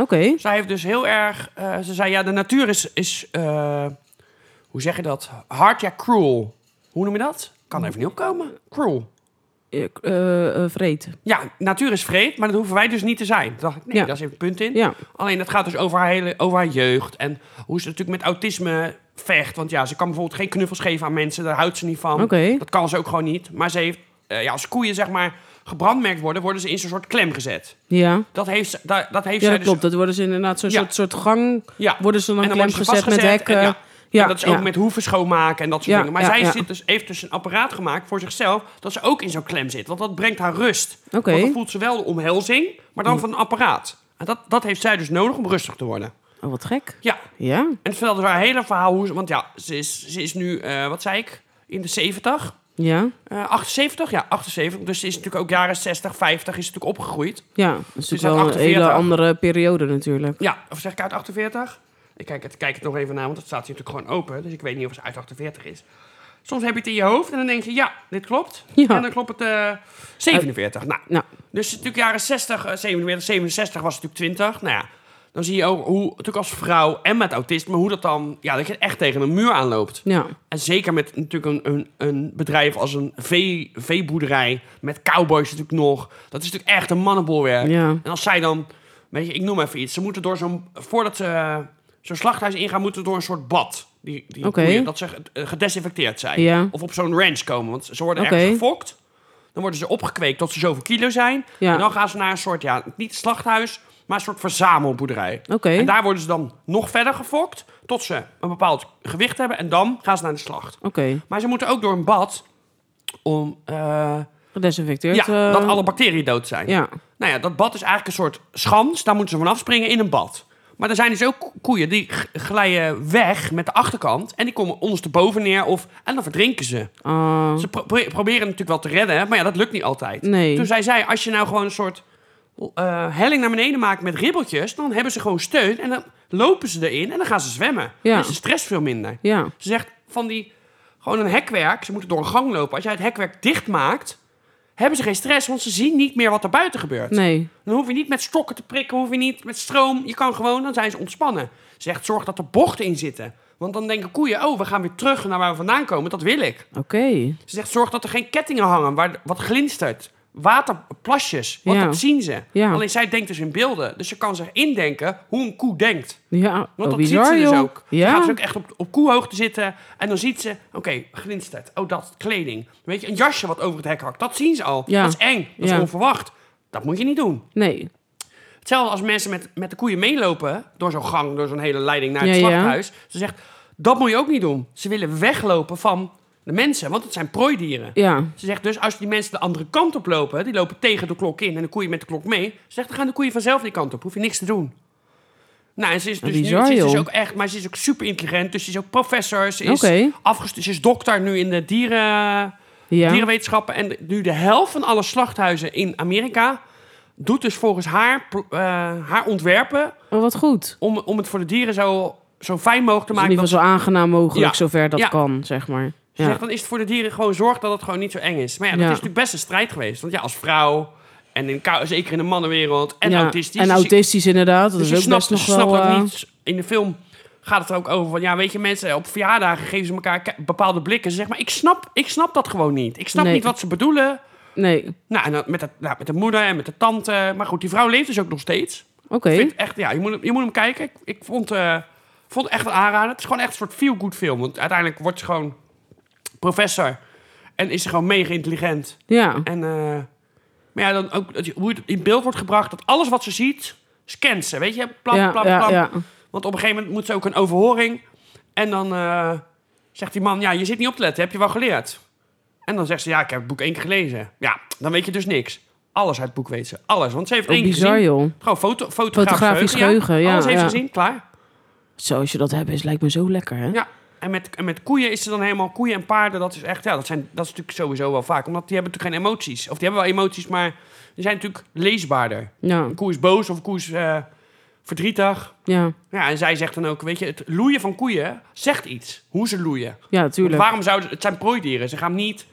[SPEAKER 2] Oké.
[SPEAKER 1] Zij heeft dus heel erg... eh, ze zei, ja, de natuur is... is eh, hoe zeg je dat? Hard, ja, cruel. Hoe noem je dat? Kan even niet opkomen. Cruel.
[SPEAKER 2] Eh, k- eh, eh, vreed.
[SPEAKER 1] Ja, natuur is vreed, maar dat hoeven wij dus niet te zijn. Toen dacht ik, nee,
[SPEAKER 2] Ja.
[SPEAKER 1] daar zit een punt in.
[SPEAKER 2] Ja.
[SPEAKER 1] Alleen dat gaat dus over haar, hele, over haar jeugd en hoe ze natuurlijk met autisme vecht. Want ja, ze kan bijvoorbeeld geen knuffels geven aan mensen, daar houdt ze niet van.
[SPEAKER 2] Oké.
[SPEAKER 1] Dat kan ze ook gewoon niet. Maar ze heeft, eh, ja, als koeien zeg maar gebrandmerkt worden, worden ze in zo'n soort klem gezet.
[SPEAKER 2] Ja.
[SPEAKER 1] Dat heeft, ze- da- dat heeft
[SPEAKER 2] Ja,
[SPEAKER 1] zij
[SPEAKER 2] dat
[SPEAKER 1] dus
[SPEAKER 2] klopt. Dat worden ze inderdaad zo'n
[SPEAKER 1] Ja.
[SPEAKER 2] soort, soort gang...
[SPEAKER 1] Ja.
[SPEAKER 2] Worden ze dan,
[SPEAKER 1] En dan
[SPEAKER 2] klem
[SPEAKER 1] worden ze
[SPEAKER 2] gezet met
[SPEAKER 1] vastgezet en
[SPEAKER 2] hekken.
[SPEAKER 1] ja. en dat is ook met hoeven schoonmaken en dat soort
[SPEAKER 2] Ja,
[SPEAKER 1] dingen. Maar
[SPEAKER 2] ja,
[SPEAKER 1] zij
[SPEAKER 2] ja.
[SPEAKER 1] Zit dus, heeft dus een apparaat gemaakt voor zichzelf dat ze ook in zo'n klem zit. Want dat brengt haar rust.
[SPEAKER 2] Oké. Mm.
[SPEAKER 1] Want dan voelt ze wel de omhelzing, maar dan van een apparaat. En dat, dat heeft zij dus nodig om rustig te worden.
[SPEAKER 2] Oh, wat gek.
[SPEAKER 1] Ja,
[SPEAKER 2] Ja.
[SPEAKER 1] en het vertelde haar hele verhaal hoe ze... Want ja, ze is, ze is nu, eh, wat zei ik, in de 70.
[SPEAKER 2] Ja.
[SPEAKER 1] Eh, 78? Ja, 78. Dus ze is natuurlijk ook jaren 60, 50 is ze natuurlijk opgegroeid.
[SPEAKER 2] Ja. Dat is
[SPEAKER 1] is
[SPEAKER 2] natuurlijk wel
[SPEAKER 1] uit
[SPEAKER 2] een hele
[SPEAKER 1] 48.
[SPEAKER 2] andere periode natuurlijk.
[SPEAKER 1] Ja, of zeg ik uit 48? Ik kijk het, kijk het nog even na, want het staat hier natuurlijk gewoon open. Dus ik weet niet of het uit 48 is. Soms heb je het in je hoofd en dan denk je, ja, dit klopt.
[SPEAKER 2] Ja.
[SPEAKER 1] En dan klopt het eh 47. nou,
[SPEAKER 2] Nou,
[SPEAKER 1] eh, dus natuurlijk jaren 60, eh, 47, 67 was het natuurlijk 20. Nou ja, dan zie je ook hoe, natuurlijk als vrouw en met autisme, hoe dat dan, ja, dat je echt tegen een muur aanloopt.
[SPEAKER 2] Ja.
[SPEAKER 1] En zeker met natuurlijk een, een, een bedrijf als een vee, veeboerderij, met cowboys natuurlijk nog. Dat is natuurlijk echt een mannenbolwerk.
[SPEAKER 2] Ja.
[SPEAKER 1] En als zij dan, weet je, ik noem even iets. Ze moeten door zo'n, voordat ze eh, zo'n slachthuis ingaan, moeten ze door een soort bad. Die, die
[SPEAKER 2] Oké.
[SPEAKER 1] koeien, dat ze ge- eh, gedesinfecteerd zijn.
[SPEAKER 2] Ja.
[SPEAKER 1] Of op zo'n ranch komen, want ze worden
[SPEAKER 2] Oké.
[SPEAKER 1] ergens gefokt. Dan worden ze opgekweekt tot ze zoveel kilo zijn.
[SPEAKER 2] Ja.
[SPEAKER 1] En dan gaan ze naar een soort, ja, niet slachthuis, maar een soort verzamelboerderij.
[SPEAKER 2] Oké.
[SPEAKER 1] En daar worden ze dan nog verder gefokt, tot ze een bepaald gewicht hebben. En dan gaan ze naar de slacht.
[SPEAKER 2] Oké.
[SPEAKER 1] Maar ze moeten ook door een bad om, eh,
[SPEAKER 2] Gedesinfecteerd.
[SPEAKER 1] ja,
[SPEAKER 2] eh,
[SPEAKER 1] dat alle bacteriën dood zijn.
[SPEAKER 2] Ja.
[SPEAKER 1] Nou ja, dat bad is eigenlijk een soort schans. Daar moeten ze vanaf springen in een bad. Maar er zijn dus ook koeien die g- glijden weg met de achterkant. En die komen ondersteboven neer. Of, en dan verdrinken ze.
[SPEAKER 2] Ah,
[SPEAKER 1] Ze pro- pro- proberen natuurlijk wel te redden. Maar ja, dat lukt niet altijd.
[SPEAKER 2] Nee.
[SPEAKER 1] Toen zij zei, als je nou gewoon een soort eh, helling naar beneden maakt met ribbeltjes. Dan hebben ze gewoon steun. En dan lopen ze erin. En dan gaan ze zwemmen.
[SPEAKER 2] Ja.
[SPEAKER 1] Dan is de stress veel minder.
[SPEAKER 2] ja.
[SPEAKER 1] Ze zegt van die, gewoon een hekwerk. Ze moeten door een gang lopen. Als jij het hekwerk dichtmaakt, hebben ze geen stress, want ze zien niet meer wat er buiten gebeurt.
[SPEAKER 2] Nee.
[SPEAKER 1] Dan hoef je niet met stokken te prikken, hoef je niet met stroom. Je kan gewoon, dan zijn ze ontspannen. Ze zegt, zorg dat er bochten in zitten. Want dan denken koeien, oh, we gaan weer terug naar waar we vandaan komen. Dat wil ik.
[SPEAKER 2] Oké.
[SPEAKER 1] Ze zegt, zorg dat er geen kettingen hangen, waar wat glinstert. Waterplasjes, want
[SPEAKER 2] Ja.
[SPEAKER 1] dat zien ze.
[SPEAKER 2] Ja.
[SPEAKER 1] Alleen zij denkt dus in beelden. Dus ze kan zich indenken hoe een koe denkt.
[SPEAKER 2] Ja.
[SPEAKER 1] Want
[SPEAKER 2] oh,
[SPEAKER 1] dat
[SPEAKER 2] bizar,
[SPEAKER 1] ziet ze
[SPEAKER 2] joh.
[SPEAKER 1] dus ook. Dan
[SPEAKER 2] Ja.
[SPEAKER 1] gaat ze ook echt op, op koehoogte zitten. En dan ziet ze, oké, glinstert. Oh, dat, kleding. Weet je, een jasje wat over het hek hakt. Dat zien ze al.
[SPEAKER 2] Ja.
[SPEAKER 1] Dat is eng. Dat
[SPEAKER 2] Ja.
[SPEAKER 1] is onverwacht. Dat moet je niet doen.
[SPEAKER 2] Nee.
[SPEAKER 1] Hetzelfde als mensen met, met de koeien meelopen. Door zo'n gang, door zo'n hele leiding naar het
[SPEAKER 2] Ja, ja.
[SPEAKER 1] slachthuis. Ze zegt, dat moet je ook niet doen. Ze willen weglopen van de mensen. Want het zijn prooidieren.
[SPEAKER 2] Ja.
[SPEAKER 1] Ze zegt dus, als die mensen de andere kant op lopen, die lopen tegen de klok in en de koeien met de klok mee, ze zegt, dan gaan de koeien vanzelf die kant op, hoef je niks te doen. Nou, en ze is dus, nu-
[SPEAKER 2] bizar,
[SPEAKER 1] ze is dus
[SPEAKER 2] joh.
[SPEAKER 1] ook echt, maar ze is ook super intelligent, dus ze is ook professor, ze is,
[SPEAKER 2] Oké.
[SPEAKER 1] afgestu- ze is dokter nu in de dieren,
[SPEAKER 2] Ja.
[SPEAKER 1] dierenwetenschappen en de- nu de helft van alle slachthuizen in Amerika doet dus volgens haar, pro- eh, haar ontwerpen
[SPEAKER 2] Oh, wat goed.
[SPEAKER 1] om, om het voor de dieren zo, zo fijn mogelijk te
[SPEAKER 2] Dus in
[SPEAKER 1] maken.
[SPEAKER 2] ieder geval zo aangenaam mogelijk,
[SPEAKER 1] Ja.
[SPEAKER 2] zover dat
[SPEAKER 1] Ja.
[SPEAKER 2] kan, zeg maar.
[SPEAKER 1] Ze
[SPEAKER 2] Ja.
[SPEAKER 1] zegt, dan is het voor de dieren gewoon zorg dat het gewoon niet zo eng is. Maar ja, dat
[SPEAKER 2] Ja.
[SPEAKER 1] is natuurlijk best een strijd geweest. Want ja, als vrouw, en in, kou- zeker in de mannenwereld, en
[SPEAKER 2] Ja.
[SPEAKER 1] autistisch.
[SPEAKER 2] En
[SPEAKER 1] dus je-
[SPEAKER 2] autistisch, inderdaad. Dat
[SPEAKER 1] dus
[SPEAKER 2] is
[SPEAKER 1] je
[SPEAKER 2] ook
[SPEAKER 1] snapt,
[SPEAKER 2] best nog
[SPEAKER 1] ze snappen
[SPEAKER 2] wel... eh,
[SPEAKER 1] ook niet. In de film gaat het er ook over van, ja, weet je, mensen op verjaardagen geven ze elkaar ke- bepaalde blikken. Ze zeggen, maar ik snap, ik snap dat gewoon niet. Ik snap
[SPEAKER 2] Nee.
[SPEAKER 1] niet wat ze bedoelen.
[SPEAKER 2] Nee.
[SPEAKER 1] Nou, en dan met, de, nou, met de moeder en met de tante. Maar goed, die vrouw leeft dus ook nog steeds.
[SPEAKER 2] Oké.
[SPEAKER 1] Ik vind het echt, ja, je moet, hem- je moet hem kijken. Ik, ik vond, eh, vond het echt een aanrader. Het is gewoon echt een soort feel-good film. Want uiteindelijk wordt ze gewoon professor. En is ze gewoon mega intelligent.
[SPEAKER 2] Ja.
[SPEAKER 1] En, eh, maar ja, dan ook dat je- hoe het in beeld wordt gebracht. Dat alles wat ze ziet, scant ze. Weet je, plap,
[SPEAKER 2] ja,
[SPEAKER 1] plap,
[SPEAKER 2] ja,
[SPEAKER 1] plap.
[SPEAKER 2] ja.
[SPEAKER 1] Want op een gegeven moment moet ze ook een overhoring. En dan eh, zegt die man, ja, je zit niet op te letten. Heb je wel geleerd? En dan zegt ze, ja, ik heb het boek één keer gelezen. Ja, dan weet je dus niks. Alles uit het boek weet ze. Alles. Want ze heeft
[SPEAKER 2] Oh,
[SPEAKER 1] één keer
[SPEAKER 2] bizar,
[SPEAKER 1] gezien.
[SPEAKER 2] joh.
[SPEAKER 1] Gewoon foto, fotografisch,
[SPEAKER 2] Fotografisch geheugen, ja,
[SPEAKER 1] Alles heeft
[SPEAKER 2] ja.
[SPEAKER 1] ze gezien, klaar.
[SPEAKER 2] Zo, als je dat hebt, is lijkt me zo lekker, hè?
[SPEAKER 1] Ja. En met, en met koeien is ze dan helemaal... Koeien en paarden, dat is echt... Ja, dat, zijn, dat is natuurlijk sowieso wel vaak. Omdat die hebben natuurlijk geen emoties. Of die hebben wel emoties, maar die zijn natuurlijk leesbaarder.
[SPEAKER 2] Ja.
[SPEAKER 1] Een koe is boos of een koe is eh, verdrietig.
[SPEAKER 2] Ja,
[SPEAKER 1] Ja, en zij zegt dan ook, weet je... Het loeien van koeien zegt iets. Hoe ze loeien.
[SPEAKER 2] ja tuurlijk.
[SPEAKER 1] Waarom zouden... Het zijn prooidieren. Ze gaan niet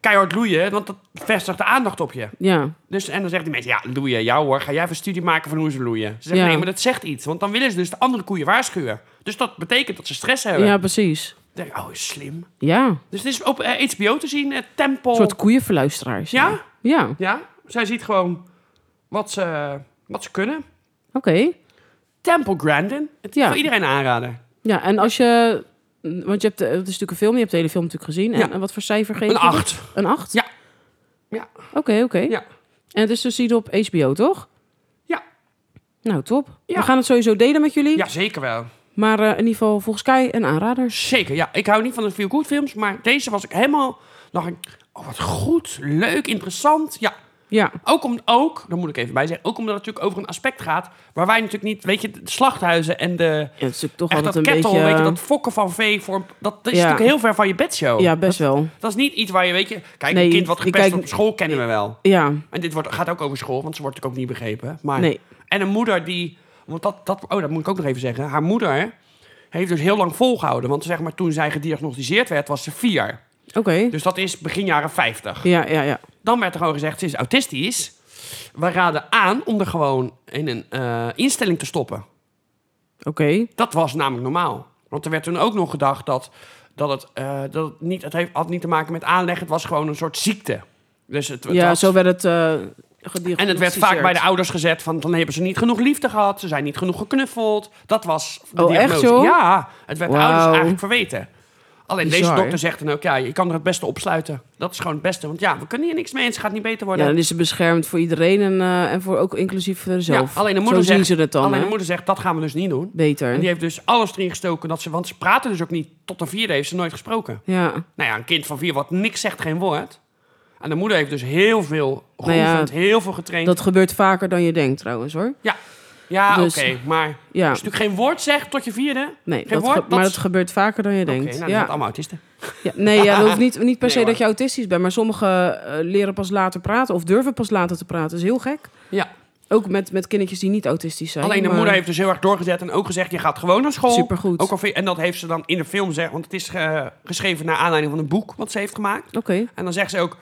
[SPEAKER 1] keihard loeien, want dat vestigt de aandacht op je.
[SPEAKER 2] Ja,
[SPEAKER 1] Dus, en dan zegt die mensen, ja, loeien, jou hoor. Ga jij even een studie maken van hoe ze loeien? Ze zeggen,
[SPEAKER 2] Ja.
[SPEAKER 1] nee, maar dat zegt iets. Want dan willen ze dus de andere koeien waarschuwen. Dus dat betekent dat ze stress hebben.
[SPEAKER 2] ja precies.
[SPEAKER 1] Dan denk ik, oh, is slim.
[SPEAKER 2] Ja, een
[SPEAKER 1] Dus dit is op eh, HBO te zien, eh, Temple.
[SPEAKER 2] soort koeienverluisteraars.
[SPEAKER 1] Ja?
[SPEAKER 2] Ja, oké.
[SPEAKER 1] Ja, zij ziet gewoon wat ze, wat ze kunnen. Temple Grandin. Het is
[SPEAKER 2] Ja.
[SPEAKER 1] voor iedereen aanraden.
[SPEAKER 2] Ja, en als je... Want je hebt, de- het is natuurlijk een film, je hebt de hele film natuurlijk gezien. En,
[SPEAKER 1] Ja.
[SPEAKER 2] en wat voor cijfer geef je?
[SPEAKER 1] Een
[SPEAKER 2] dit?
[SPEAKER 1] acht.
[SPEAKER 2] Een acht?
[SPEAKER 1] Ja. Ja.
[SPEAKER 2] Oké, oké.
[SPEAKER 1] Ja.
[SPEAKER 2] En het is dus te zien op HBO, toch?
[SPEAKER 1] Ja.
[SPEAKER 2] Nou, top.
[SPEAKER 1] Ja.
[SPEAKER 2] We gaan het sowieso delen met jullie.
[SPEAKER 1] Ja, zeker wel.
[SPEAKER 2] Maar eh, in ieder geval, volgens Kai, een aanrader.
[SPEAKER 1] Zeker, ja. Ik hou niet van de feel-good films, maar deze was ik helemaal... Dacht ik, oh, wat goed, leuk, interessant. Ja,
[SPEAKER 2] Ja,
[SPEAKER 1] Ook, om, ook, daar moet ik even bij zeggen, ook omdat het natuurlijk over een aspect gaat waar wij natuurlijk niet, weet je, de slachthuizen en de,
[SPEAKER 2] ja het is natuurlijk toch
[SPEAKER 1] echt
[SPEAKER 2] altijd
[SPEAKER 1] dat
[SPEAKER 2] een
[SPEAKER 1] kettle,
[SPEAKER 2] beetje... eh,
[SPEAKER 1] weet je, dat fokken van vee, voor, een- dat, dat is
[SPEAKER 2] Ja.
[SPEAKER 1] natuurlijk heel ver van je bedshow.
[SPEAKER 2] ja, best wel.
[SPEAKER 1] Dat is niet iets waar je, weet je, kijk,
[SPEAKER 2] Nee,
[SPEAKER 1] een kind wat
[SPEAKER 2] je
[SPEAKER 1] gepest
[SPEAKER 2] kijkt-
[SPEAKER 1] wordt op school kennen we wel.
[SPEAKER 2] Ja,
[SPEAKER 1] En dit wordt, gaat ook over school, want ze wordt natuurlijk ook niet begrepen. Maar,
[SPEAKER 2] Nee.
[SPEAKER 1] En een moeder die, want dat, dat, oh, dat moet ik ook nog even zeggen, haar moeder heeft dus heel lang volgehouden, want zeg maar toen zij gediagnosticeerd werd, was ze vier.
[SPEAKER 2] oké.
[SPEAKER 1] Dus dat is begin jaren 50.
[SPEAKER 2] Ja, ja, ja.
[SPEAKER 1] Dan werd er gewoon gezegd, ze is autistisch. Dus wij raden aan om er gewoon in een eh, instelling te stoppen.
[SPEAKER 2] Oké.
[SPEAKER 1] Dat was namelijk normaal. Want er werd toen ook nog gedacht dat, dat het, eh, dat het niet... Het heeft, had niet te maken met aanleg, het was gewoon een soort ziekte. Dus het, het
[SPEAKER 2] Ja,
[SPEAKER 1] was-
[SPEAKER 2] zo werd het eh gediag-
[SPEAKER 1] En het werd vaak bij de
[SPEAKER 2] gediagnosticeerd.
[SPEAKER 1] ouders gezet van... dan hebben ze niet genoeg liefde gehad, ze zijn niet genoeg geknuffeld. Dat was de
[SPEAKER 2] Oh, echt,
[SPEAKER 1] diagnose.
[SPEAKER 2] joh?
[SPEAKER 1] Ja, het werd de
[SPEAKER 2] Wauw.
[SPEAKER 1] ouders eigenlijk verweten. Alleen deze
[SPEAKER 2] Bizar.
[SPEAKER 1] dokter zegt dan ook... ja, je kan er het beste opsluiten. Dat is gewoon het beste. Want ja, we kunnen hier niks mee en ze gaat niet beter worden.
[SPEAKER 2] Ja, dan is ze beschermd voor iedereen en, eh, en voor ook inclusief voor zelf.
[SPEAKER 1] alleen de moeder
[SPEAKER 2] zo zien
[SPEAKER 1] zegt-
[SPEAKER 2] ze het dan,
[SPEAKER 1] Alleen
[SPEAKER 2] hè?
[SPEAKER 1] de moeder zegt, dat gaan we dus niet doen.
[SPEAKER 2] Beter.
[SPEAKER 1] En die heeft dus alles erin gestoken. Dat ze, want ze praten dus ook niet. Tot een vierde heeft ze nooit gesproken.
[SPEAKER 2] Ja.
[SPEAKER 1] Nou ja, een kind van vier wat niks zegt, geen woord. En de moeder heeft dus heel veel
[SPEAKER 2] Nou ja,
[SPEAKER 1] geoefend, heel veel getraind.
[SPEAKER 2] Dat gebeurt vaker dan je denkt trouwens, hoor.
[SPEAKER 1] ja,
[SPEAKER 2] dus-
[SPEAKER 1] oké. maar als je
[SPEAKER 2] Ja,
[SPEAKER 1] natuurlijk geen woord zegt tot je vierde...
[SPEAKER 2] nee,
[SPEAKER 1] Geen
[SPEAKER 2] dat
[SPEAKER 1] woord,
[SPEAKER 2] ge-
[SPEAKER 1] dat-
[SPEAKER 2] maar dat gebeurt vaker dan je
[SPEAKER 1] Oké,
[SPEAKER 2] denkt.
[SPEAKER 1] nou, dan zijn
[SPEAKER 2] ja.
[SPEAKER 1] het allemaal autisten.
[SPEAKER 2] Ja, nee, ja, dat hoeft niet, niet per
[SPEAKER 1] Nee,
[SPEAKER 2] se
[SPEAKER 1] hoor.
[SPEAKER 2] dat je autistisch bent, maar sommigen eh, leren pas later praten of durven pas later te praten. Dat is heel gek.
[SPEAKER 1] Ja.
[SPEAKER 2] Ook met, met kindertjes die niet autistisch zijn.
[SPEAKER 1] Alleen de
[SPEAKER 2] maar-
[SPEAKER 1] moeder heeft dus heel erg doorgezet en ook gezegd... je gaat gewoon naar school.
[SPEAKER 2] Supergoed.
[SPEAKER 1] Ook al vind- en dat heeft ze dan in de film gezegd... want het is eh, geschreven naar aanleiding van een boek wat ze heeft gemaakt.
[SPEAKER 2] Oké,
[SPEAKER 1] En dan zegt ze ook...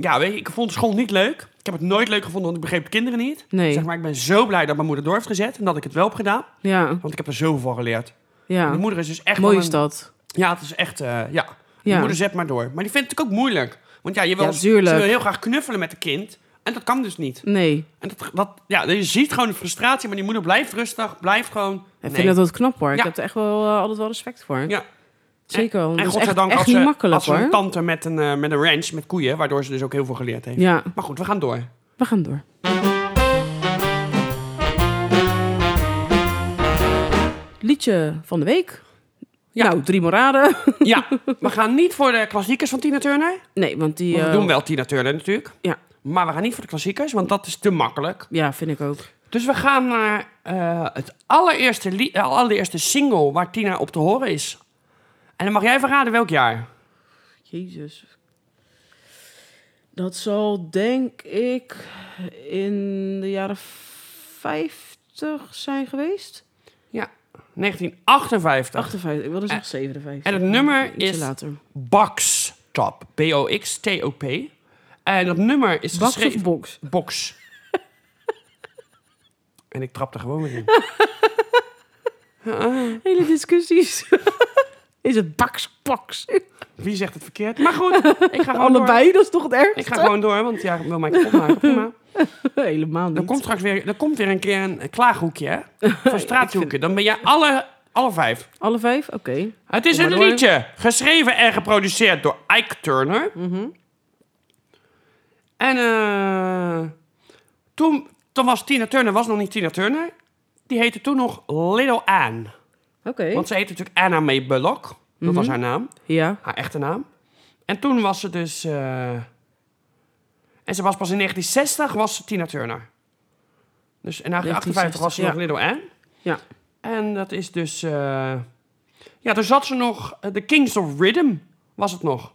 [SPEAKER 1] Ja, weet je, ik vond school niet leuk. Ik heb het nooit leuk gevonden, want ik begreep de kinderen niet.
[SPEAKER 2] nee.
[SPEAKER 1] Zeg maar, ik ben zo blij dat mijn moeder door heeft gezet... en dat ik het wel heb gedaan,
[SPEAKER 2] Ja,
[SPEAKER 1] want ik heb er zoveel van geleerd.
[SPEAKER 2] ja.
[SPEAKER 1] Mijn moeder is dus echt...
[SPEAKER 2] Mooi
[SPEAKER 1] wel
[SPEAKER 2] is
[SPEAKER 1] een-
[SPEAKER 2] dat.
[SPEAKER 1] Ja, het is echt... eh, ja. Mijn
[SPEAKER 2] Ja.
[SPEAKER 1] moeder zet maar door. Maar die vindt het natuurlijk ook moeilijk. Want ja, je wil,
[SPEAKER 2] Ja,
[SPEAKER 1] ze wil
[SPEAKER 2] tuurlijk.
[SPEAKER 1] heel graag knuffelen met een kind... En dat kan dus niet.
[SPEAKER 2] Nee.
[SPEAKER 1] En dat, dat, ja, je ziet gewoon de frustratie, maar die moeder blijft rustig, blijft gewoon.
[SPEAKER 2] Ik
[SPEAKER 1] nee.
[SPEAKER 2] vind dat wel knap hoor. Ik
[SPEAKER 1] Ja.
[SPEAKER 2] heb er echt wel eh, altijd wel respect voor.
[SPEAKER 1] Ja.
[SPEAKER 2] Zeker wel.
[SPEAKER 1] en
[SPEAKER 2] dat is echt,
[SPEAKER 1] godzijdank
[SPEAKER 2] echt
[SPEAKER 1] als
[SPEAKER 2] niet
[SPEAKER 1] ze,
[SPEAKER 2] makkelijk
[SPEAKER 1] als ze een
[SPEAKER 2] hoor.
[SPEAKER 1] tante met een, eh, met een ranch, met koeien, waardoor ze dus ook heel veel geleerd heeft.
[SPEAKER 2] Ja,
[SPEAKER 1] Maar goed, we gaan door.
[SPEAKER 2] we gaan door. Liedje van de week.
[SPEAKER 1] Ja.
[SPEAKER 2] Nou, drie moraden.
[SPEAKER 1] Ja, we gaan niet voor de klassiekers van Tina Turner.
[SPEAKER 2] Nee, want die...
[SPEAKER 1] Want we
[SPEAKER 2] eh,
[SPEAKER 1] doen wel Tina Turner natuurlijk.
[SPEAKER 2] Ja.
[SPEAKER 1] Maar we gaan niet voor de klassiekers, want dat is te makkelijk.
[SPEAKER 2] Ja, vind ik ook.
[SPEAKER 1] Dus we gaan naar eh, het allereerste, lied- eh, allereerste single waar Tina op te horen is. En dan mag jij verraden welk jaar.
[SPEAKER 2] Jezus. Dat zal denk ik in de jaren 50 zijn geweest.
[SPEAKER 1] 1958.
[SPEAKER 2] 58, ik wilde
[SPEAKER 1] zeggen
[SPEAKER 2] zeggen 57.
[SPEAKER 1] Eh, en het nummer
[SPEAKER 2] Ietsje
[SPEAKER 1] is-
[SPEAKER 2] later.
[SPEAKER 1] Box Top. B-O-X-T-O-P. En dat nummer is
[SPEAKER 2] Box
[SPEAKER 1] geschreven...
[SPEAKER 2] of box?
[SPEAKER 1] Box. en ik trap er gewoon weer in.
[SPEAKER 2] Hele discussies.
[SPEAKER 1] Oh,
[SPEAKER 2] is het box, box?
[SPEAKER 1] Wie zegt het verkeerd? Maar goed, ik ga gewoon
[SPEAKER 2] Allebei, dat is toch het
[SPEAKER 1] door. Ik
[SPEAKER 2] ergste?
[SPEAKER 1] ga gewoon door, want ja, ik wil mij kapot maken. Prima.
[SPEAKER 2] Helemaal niet.
[SPEAKER 1] Er komt straks weer, er komt weer een keer een klaaghoekje, hè? Van straathoeken. Dan ben jij alle, alle vijf.
[SPEAKER 2] Alle vijf? Oké.
[SPEAKER 1] Het is
[SPEAKER 2] Kom maar
[SPEAKER 1] een
[SPEAKER 2] door.
[SPEAKER 1] liedje, geschreven en geproduceerd door Ike Turner. En eh, toen, toen was Tina Turner, was nog niet Tina Turner. Die heette toen nog Little Anne.
[SPEAKER 2] Oké.
[SPEAKER 1] Want ze heette natuurlijk Anna May Bullock. Dat was haar naam,
[SPEAKER 2] Ja.
[SPEAKER 1] haar echte naam. En toen was ze dus... eh, en ze was pas in 1960 was ze Tina Turner. Dus in 1958 was ze
[SPEAKER 2] 1960,
[SPEAKER 1] nog Little Anne.
[SPEAKER 2] Ja.
[SPEAKER 1] En dat is dus... eh, ja, toen zat ze nog... eh, The Kings of Rhythm was het nog.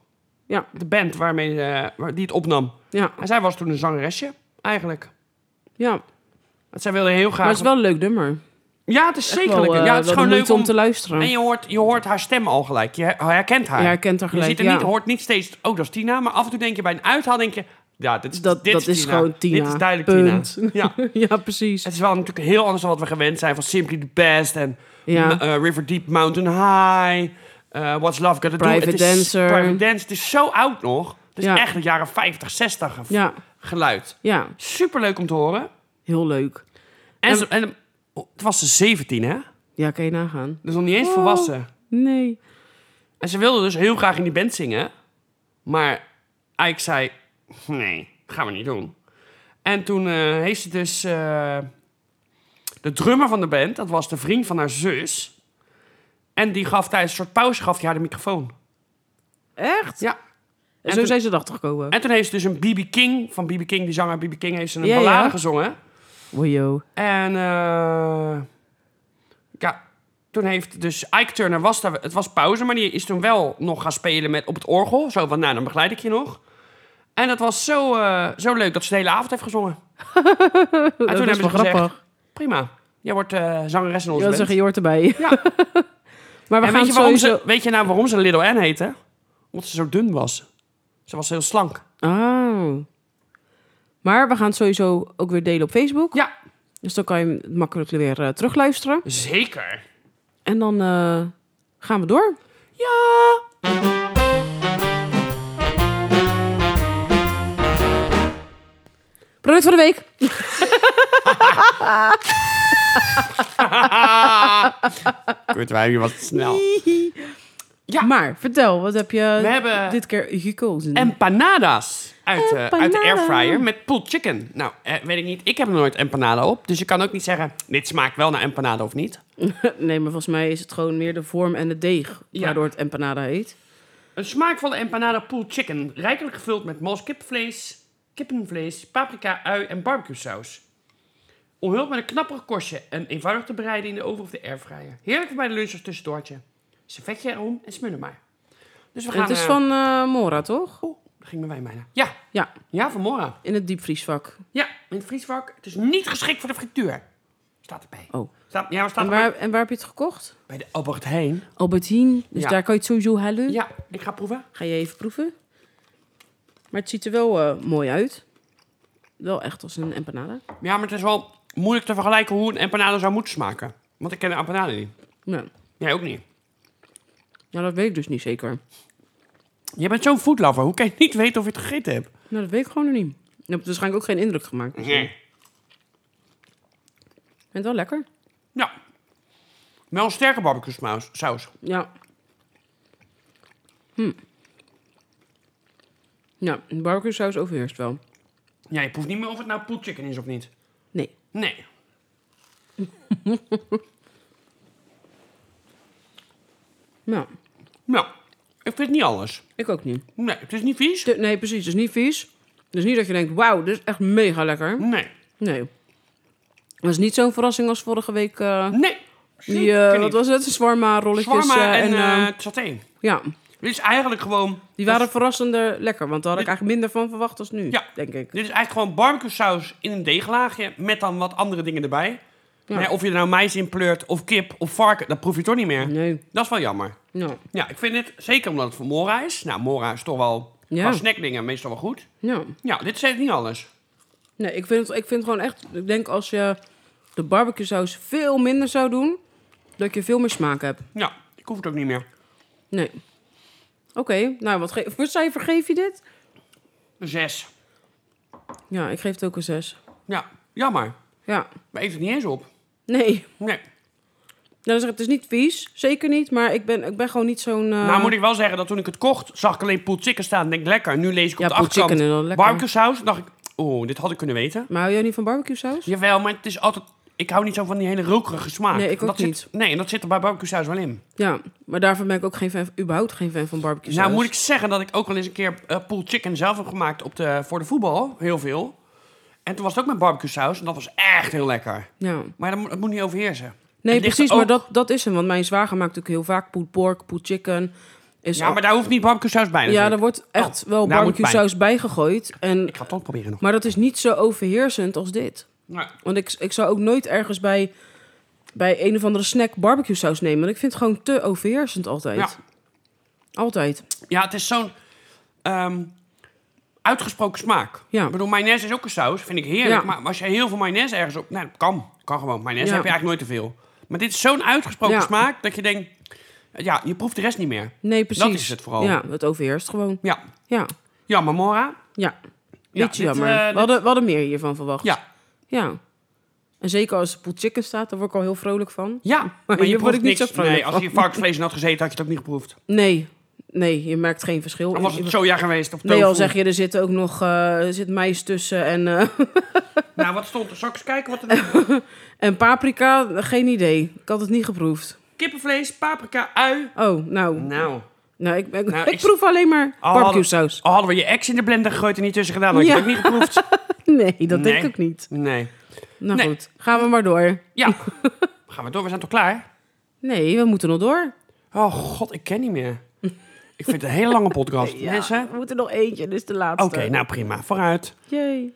[SPEAKER 2] Ja.
[SPEAKER 1] De band waarmee, eh, waar, die het opnam.
[SPEAKER 2] Ja.
[SPEAKER 1] En zij was toen een zangeresje, eigenlijk.
[SPEAKER 2] Ja.
[SPEAKER 1] Want zij wilde heel graag...
[SPEAKER 2] Maar het is wel een leuk nummer.
[SPEAKER 1] Ja, het is
[SPEAKER 2] Echt
[SPEAKER 1] zeker
[SPEAKER 2] wel,
[SPEAKER 1] leuk.
[SPEAKER 2] eh,
[SPEAKER 1] ja, het is
[SPEAKER 2] wel de
[SPEAKER 1] gewoon leuk
[SPEAKER 2] moeite
[SPEAKER 1] om...
[SPEAKER 2] te luisteren.
[SPEAKER 1] En je hoort, je hoort haar stem al gelijk. Je herkent haar.
[SPEAKER 2] Ja, hij kent haar
[SPEAKER 1] je
[SPEAKER 2] gelijk.
[SPEAKER 1] ziet er
[SPEAKER 2] ja.
[SPEAKER 1] niet, hoort niet steeds... Oh, dat is Tina. Maar af en toe denk je bij een uithaal... denk je, ja, dit is,
[SPEAKER 2] Dat,
[SPEAKER 1] dit
[SPEAKER 2] dat is
[SPEAKER 1] Tina.
[SPEAKER 2] gewoon Tina.
[SPEAKER 1] Dit is duidelijk
[SPEAKER 2] Punt.
[SPEAKER 1] Tina. Ja.
[SPEAKER 2] ja, precies.
[SPEAKER 1] Het is wel natuurlijk heel anders dan wat we gewend zijn van Simply the Best en
[SPEAKER 2] Ja.
[SPEAKER 1] m- eh, River Deep Mountain High. eh, What's Love Gotta Do.
[SPEAKER 2] Private
[SPEAKER 1] Het is-
[SPEAKER 2] Dancer.
[SPEAKER 1] Private Dance. Het is zo oud nog. Het is
[SPEAKER 2] Ja.
[SPEAKER 1] echt de jaren 50, 60 ge-
[SPEAKER 2] Ja,
[SPEAKER 1] geluid.
[SPEAKER 2] ja,
[SPEAKER 1] Superleuk om te horen.
[SPEAKER 2] heel leuk.
[SPEAKER 1] En,
[SPEAKER 2] En-
[SPEAKER 1] ze- en oh, het was ze 17, hè?
[SPEAKER 2] Ja, kan je nagaan.
[SPEAKER 1] Dus nog niet eens
[SPEAKER 2] Wow.
[SPEAKER 1] volwassen.
[SPEAKER 2] Nee.
[SPEAKER 1] En ze wilde dus heel graag in die band zingen. Maar Ike zei, nee, gaan we niet doen. En toen eh, heeft ze dus... eh, de drummer van de band, dat was de vriend van haar zus. En die gaf tijdens een soort pauze gaf die haar de microfoon.
[SPEAKER 2] Echt?
[SPEAKER 1] Ja.
[SPEAKER 2] En
[SPEAKER 1] En
[SPEAKER 2] zo
[SPEAKER 1] toen-
[SPEAKER 2] zijn ze erachter gekomen.
[SPEAKER 1] En toen heeft ze dus een B.B. King, van B.B. King, die zanger B.B. King, heeft ze een
[SPEAKER 2] Ja, ja.
[SPEAKER 1] ballade gezongen.
[SPEAKER 2] Wojo.
[SPEAKER 1] En eh, ja, toen heeft dus Ike Turner was daar. Het was pauze, maar die is toen wel nog gaan spelen met op het orgel. Zo van, nou, dan begeleid ik je nog. En dat was zo, eh, zo leuk dat ze de hele avond heeft gezongen.
[SPEAKER 2] Dat
[SPEAKER 1] toen
[SPEAKER 2] is
[SPEAKER 1] hebben
[SPEAKER 2] wel
[SPEAKER 1] ze gezegd,
[SPEAKER 2] grappig.
[SPEAKER 1] Prima. Jij wordt eh, zangeres in onze
[SPEAKER 2] Je wil
[SPEAKER 1] band.
[SPEAKER 2] zeggen, je hoort erbij.
[SPEAKER 1] Ja.
[SPEAKER 2] maar we
[SPEAKER 1] en
[SPEAKER 2] gaan
[SPEAKER 1] weet je, waarom
[SPEAKER 2] sowieso...
[SPEAKER 1] ze, weet je nou waarom ze Little Anne heette? Omdat ze zo dun was. Ze was heel slank.
[SPEAKER 2] Oh. Maar we gaan het sowieso ook weer delen op Facebook.
[SPEAKER 1] Ja.
[SPEAKER 2] Dus dan kan je hem makkelijk weer eh, terugluisteren.
[SPEAKER 1] Zeker.
[SPEAKER 2] En dan eh, gaan we door.
[SPEAKER 1] Ja.
[SPEAKER 2] Product van de week.
[SPEAKER 1] Kurt Wijmie was snel. Ja.
[SPEAKER 2] Maar vertel, wat heb je
[SPEAKER 1] We hebben
[SPEAKER 2] dit keer gekozen?
[SPEAKER 1] empanadas uit, eh, uit de
[SPEAKER 2] Empanada.
[SPEAKER 1] airfryer met pulled chicken. Nou, eh, weet ik niet. Ik heb er nooit empanada op. Dus je kan ook niet zeggen, dit smaakt wel naar empanada of niet.
[SPEAKER 2] nee, maar volgens mij is het gewoon meer de vorm en de deeg
[SPEAKER 1] Ja.
[SPEAKER 2] waardoor het empanada heet.
[SPEAKER 1] Een smaakvolle empanada pulled chicken. Rijkelijk gevuld met mos kipvlees, kippenvlees, paprika, ui en barbecuesaus. Omhuld met een knapperig korstje en eenvoudig te bereiden in de oven of de airfryer. Heerlijk voor bij de lunch als tussendoortje. Servetje erom en smullen maar. Dus we gaan...
[SPEAKER 2] het is
[SPEAKER 1] eh,
[SPEAKER 2] van eh, Mora, toch?
[SPEAKER 1] Oeh, daar ging mijn wijn bijna. Ja,
[SPEAKER 2] Ja,
[SPEAKER 1] ja, vanmorgen.
[SPEAKER 2] in het diepvriesvak.
[SPEAKER 1] Ja, in het vriesvak. Het is niet geschikt voor de frituur. Staat erbij.
[SPEAKER 2] Oh.
[SPEAKER 1] Staat, ja, maar staat
[SPEAKER 2] En
[SPEAKER 1] erbij.
[SPEAKER 2] waar, en waar heb je het gekocht?
[SPEAKER 1] Bij de Albert Heijn.
[SPEAKER 2] Albertine. Dus
[SPEAKER 1] Ja.
[SPEAKER 2] daar kan je het sowieso halen.
[SPEAKER 1] Ja, ik ga proeven.
[SPEAKER 2] Ga je even proeven. Maar het ziet er wel eh, mooi uit. Wel echt als een empanada.
[SPEAKER 1] Ja, maar het is wel moeilijk te vergelijken hoe een empanada zou moeten smaken. Want ik ken de empanada niet.
[SPEAKER 2] Nou,
[SPEAKER 1] Jij ook niet.
[SPEAKER 2] nou, dat weet ik dus niet zeker.
[SPEAKER 1] Je bent zo'n foodlover. Hoe kan je niet weten of je het gegeten hebt?
[SPEAKER 2] Nou, dat weet ik gewoon nog niet. Je hebt waarschijnlijk ook geen indruk gemaakt. Ik vind het wel lekker.
[SPEAKER 1] Ja. Wel een sterke barbecue smaus- saus.
[SPEAKER 2] Ja. Hm. Ja, de barbecue saus overheerst wel.
[SPEAKER 1] Ja, je proeft niet meer of het nou pulled chicken is of niet.
[SPEAKER 2] Nee.
[SPEAKER 1] Nee.
[SPEAKER 2] Nou,
[SPEAKER 1] Nou, ik vind niet alles.
[SPEAKER 2] ik ook niet.
[SPEAKER 1] Nee, het is niet vies.
[SPEAKER 2] Te- Nee, precies. Het is niet vies. Dus niet dat je denkt, wauw, dit is echt mega lekker.
[SPEAKER 1] Nee.
[SPEAKER 2] Nee. Dat is niet zo'n verrassing als vorige week. eh
[SPEAKER 1] Nee.
[SPEAKER 2] die,
[SPEAKER 1] Zeker
[SPEAKER 2] eh,
[SPEAKER 1] niet.
[SPEAKER 2] wat was het? Zwarma rolletjes.
[SPEAKER 1] Shawarma
[SPEAKER 2] eh,
[SPEAKER 1] en,
[SPEAKER 2] eh,
[SPEAKER 1] eh, saté.
[SPEAKER 2] ja,
[SPEAKER 1] Dit is eigenlijk gewoon...
[SPEAKER 2] die waren verrassender lekker. Want daar had
[SPEAKER 1] Dit-
[SPEAKER 2] ik eigenlijk minder van verwacht als nu,
[SPEAKER 1] Ja.
[SPEAKER 2] denk ik.
[SPEAKER 1] Dit is eigenlijk gewoon barbecue saus in een deeglaagje met dan wat andere dingen erbij.
[SPEAKER 2] Ja.
[SPEAKER 1] Maar ja, of je er nou mais in pleurt of kip of varken, dat proef je toch niet meer.
[SPEAKER 2] Nee.
[SPEAKER 1] Dat is wel jammer.
[SPEAKER 2] Nou,
[SPEAKER 1] Ja, ik vind het, zeker omdat het van Mora is. Nou, Mora is toch wel
[SPEAKER 2] Ja.
[SPEAKER 1] qua snackdingen meestal wel goed.
[SPEAKER 2] nou.
[SPEAKER 1] Ja, dit is echt niet alles.
[SPEAKER 2] Nee, ik vind, het, ik vind het gewoon echt... Ik denk als je de barbecue saus veel minder zou doen... dat je veel meer smaak hebt.
[SPEAKER 1] Ja, ik hoef het ook niet meer.
[SPEAKER 2] Nee. Oké, nou, wat ge- voor cijfer geef je dit?
[SPEAKER 1] Een zes.
[SPEAKER 2] Ja, ik geef het ook een 6.
[SPEAKER 1] Ja, jammer.
[SPEAKER 2] Ja,
[SPEAKER 1] We eten het niet eens op.
[SPEAKER 2] nee.
[SPEAKER 1] Nee.
[SPEAKER 2] Nou, dan zeg ik, het is niet vies, zeker niet. Maar ik ben, ik ben gewoon niet zo'n... eh,
[SPEAKER 1] Nou moet ik wel zeggen dat toen ik het kocht, zag ik alleen pulled chicken staan. En denk lekker. En nu lees ik op
[SPEAKER 2] Ja,
[SPEAKER 1] de
[SPEAKER 2] pulled
[SPEAKER 1] achterkant
[SPEAKER 2] chicken is wel lekker.
[SPEAKER 1] barbecue saus. dacht ik, oeh, dit had ik kunnen weten.
[SPEAKER 2] Maar hou jij niet van barbecue saus?
[SPEAKER 1] Jawel, maar het is altijd... Ik hou niet zo van die hele rokerige smaak.
[SPEAKER 2] Nee, ik ook
[SPEAKER 1] dat
[SPEAKER 2] niet.
[SPEAKER 1] Zit, nee, en dat zit er bij barbecue saus wel in. Nou,
[SPEAKER 2] Ja, maar daarvan ben ik ook geen fan, überhaupt geen fan van barbecue saus.
[SPEAKER 1] Nou moet ik zeggen dat ik ook wel eens een keer eh pulled chicken zelf heb gemaakt op de, voor de voetbal. Heel veel. En toen was het ook met barbecue saus. En dat was echt heel lekker.
[SPEAKER 2] Ja.
[SPEAKER 1] Maar dat moet, dat moet niet overheersen.
[SPEAKER 2] Nee,
[SPEAKER 1] Het ligt
[SPEAKER 2] precies,
[SPEAKER 1] er
[SPEAKER 2] maar
[SPEAKER 1] ook-
[SPEAKER 2] dat, dat is hem. Want mijn zwager maakt natuurlijk heel vaak pulled pork, pulled chicken. Is
[SPEAKER 1] Ja, maar daar hoeft niet barbecue saus bij
[SPEAKER 2] ja
[SPEAKER 1] natuurlijk.
[SPEAKER 2] er wordt echt
[SPEAKER 1] Oh,
[SPEAKER 2] wel
[SPEAKER 1] daar moet
[SPEAKER 2] barbecue saus bijgegooid. En,
[SPEAKER 1] Ik ga het toch proberen nog.
[SPEAKER 2] maar dat is niet zo overheersend als dit.
[SPEAKER 1] Nou,
[SPEAKER 2] Want ik, ik zou ook nooit ergens bij, bij een of andere snack barbecue saus nemen. Want ik vind het gewoon te overheersend altijd.
[SPEAKER 1] ja.
[SPEAKER 2] Altijd.
[SPEAKER 1] Ja, het is zo'n ehm, uitgesproken smaak.
[SPEAKER 2] Ja.
[SPEAKER 1] Nou, Ik bedoel, mayonaise is ook een saus, vind ik heerlijk.
[SPEAKER 2] Ja.
[SPEAKER 1] Maar als je heel veel mayonaise ergens op... Nou, dat kan. Kan gewoon. Mayonaise
[SPEAKER 2] Ja.
[SPEAKER 1] heb je eigenlijk nooit te veel. Maar dit is zo'n uitgesproken
[SPEAKER 2] Ja.
[SPEAKER 1] smaak dat je denkt... Ja, je proeft de rest niet meer.
[SPEAKER 2] Nee, precies.
[SPEAKER 1] is het vooral.
[SPEAKER 2] Ja, het overheerst gewoon.
[SPEAKER 1] Ja.
[SPEAKER 2] Ja,
[SPEAKER 1] Ja, maar Mora...
[SPEAKER 2] ja.
[SPEAKER 1] Ja,
[SPEAKER 2] Beetje
[SPEAKER 1] dit,
[SPEAKER 2] jammer.
[SPEAKER 1] eh,
[SPEAKER 2] we,
[SPEAKER 1] dit-
[SPEAKER 2] hadden, we hadden meer hiervan verwacht.
[SPEAKER 1] Ja.
[SPEAKER 2] Ja. En zeker als er pulled chicken staat, daar word ik al heel vrolijk van.
[SPEAKER 1] Ja, maar je
[SPEAKER 2] hier word
[SPEAKER 1] proeft
[SPEAKER 2] ik niet
[SPEAKER 1] niks.
[SPEAKER 2] zo vrolijk
[SPEAKER 1] nee, als je
[SPEAKER 2] van. Oh,
[SPEAKER 1] varkensvlees in had gezeten, had je het ook niet geproefd.
[SPEAKER 2] Nee, nee, je maakt geen verschil.
[SPEAKER 1] Dan was het soja geweest of tofu.
[SPEAKER 2] Nee, al zeg je, er zit ook nog eh, er zit mais tussen en, eh,
[SPEAKER 1] Nou, wat stond er? Zal ik eens kijken wat er...
[SPEAKER 2] en paprika. Geen idee. Ik had het niet geproefd.
[SPEAKER 1] Kippenvlees, paprika, ui.
[SPEAKER 2] Oh, nou.
[SPEAKER 1] Nou...
[SPEAKER 2] Nou, ik, ik,
[SPEAKER 1] Nou,
[SPEAKER 2] ik
[SPEAKER 1] ik-
[SPEAKER 2] proef alleen maar
[SPEAKER 1] Al
[SPEAKER 2] barbecue saus.
[SPEAKER 1] Al hadden we je ex in de blender gegooid en niet tussen gedaan, had je
[SPEAKER 2] Ja.
[SPEAKER 1] het ook niet geproefd.
[SPEAKER 2] Nee,
[SPEAKER 1] Nee.
[SPEAKER 2] dat denk ik ook niet.
[SPEAKER 1] Nee.
[SPEAKER 2] Nou
[SPEAKER 1] Nee.
[SPEAKER 2] goed, gaan we maar door.
[SPEAKER 1] Ja. Gaan we door? We zijn toch klaar?
[SPEAKER 2] Nee, we moeten nog door.
[SPEAKER 1] Oh god, ik ken niet meer. Ik vind het een hele lange podcast. Mensen?
[SPEAKER 2] we moeten nog eentje, dit is de
[SPEAKER 1] Oké,
[SPEAKER 2] laatste.
[SPEAKER 1] nou prima. Vooruit.
[SPEAKER 2] Yay.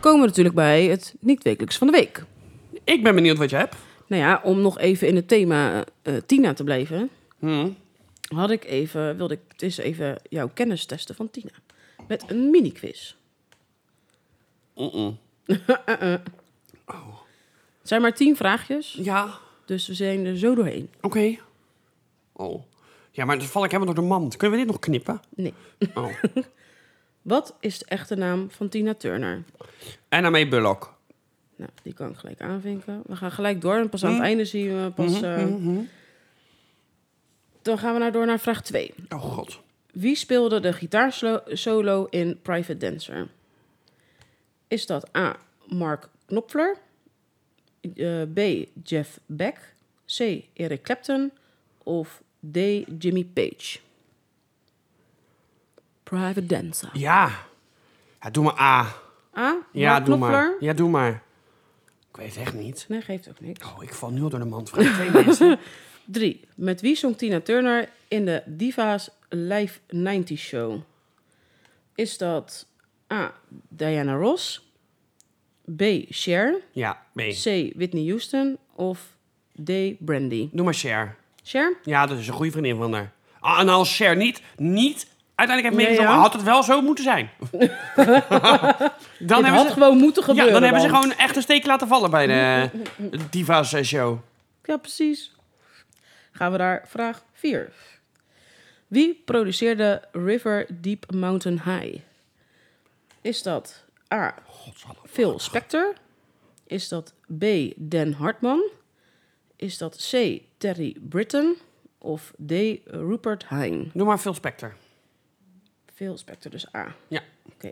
[SPEAKER 2] Komen we natuurlijk bij het niet-wekelijks van de week.
[SPEAKER 1] Ik ben benieuwd wat je hebt.
[SPEAKER 2] Nou ja, om nog even in het thema eh, Tina te blijven.
[SPEAKER 1] Hmm.
[SPEAKER 2] had ik even, wilde ik eens even jouw kennis testen van Tina. Met een mini-quiz.
[SPEAKER 1] Mm-mm.
[SPEAKER 2] Oh. Het zijn maar tien vraagjes,
[SPEAKER 1] Ja,
[SPEAKER 2] dus we zijn er zo doorheen.
[SPEAKER 1] oké. Oh. Ja, maar dan val ik helemaal door de mand. Kunnen we dit nog knippen?
[SPEAKER 2] Nee.
[SPEAKER 1] Oh.
[SPEAKER 2] Wat is de echte naam van Tina Turner?
[SPEAKER 1] en daarmee Bullock.
[SPEAKER 2] Nou, die kan ik gelijk aanvinken. We gaan gelijk door en pas aan het einde zien we pas... eh, Dan gaan we nou door naar vraag 2.
[SPEAKER 1] Oh god.
[SPEAKER 2] Wie speelde de gitaarsolo in Private Dancer? Is dat A. Mark Knopfler? eh, B. Jeff Beck? C. Eric Clapton? Of D. Jimmy Page? Private Dancer.
[SPEAKER 1] Ja. ja. Doe maar A.
[SPEAKER 2] A.
[SPEAKER 1] Ja,
[SPEAKER 2] Mark
[SPEAKER 1] doe
[SPEAKER 2] Knopfler?
[SPEAKER 1] maar. Ja, doe maar. Ik weet het echt niet.
[SPEAKER 2] Nee, geeft ook niks.
[SPEAKER 1] Oh, ik val nu al door de mand van twee mensen.
[SPEAKER 2] 3. Met wie zong Tina Turner in de Diva's Live 90 Show? Is dat A. Diana Ross? B. Cher?
[SPEAKER 1] Ja, nee.
[SPEAKER 2] C. Whitney Houston? Of D. Brandy?
[SPEAKER 1] Doe maar Cher.
[SPEAKER 2] Cher?
[SPEAKER 1] Ja, dat is een goede vriendin van haar. Ah, en als Cher niet, niet uiteindelijk heeft
[SPEAKER 2] Nee,
[SPEAKER 1] meegezongen,
[SPEAKER 2] ja.
[SPEAKER 1] had het wel zo moeten zijn. dan
[SPEAKER 2] Dit had
[SPEAKER 1] hebben ze,
[SPEAKER 2] gewoon moeten gebeuren.
[SPEAKER 1] ja, dan hebben ze
[SPEAKER 2] want-
[SPEAKER 1] gewoon echt een steek laten vallen bij de eh, Divas eh, show.
[SPEAKER 2] Ja, precies. Gaan we naar vraag 4. Wie produceerde River Deep Mountain High? Is dat A. Phil Spector? Is dat B. Dan Hartman? Is dat C. Terry Britton? Of D. Rupert Hein?
[SPEAKER 1] Doe maar Phil Spector.
[SPEAKER 2] Phil Spector, dus A.
[SPEAKER 1] Ja.
[SPEAKER 2] Oké.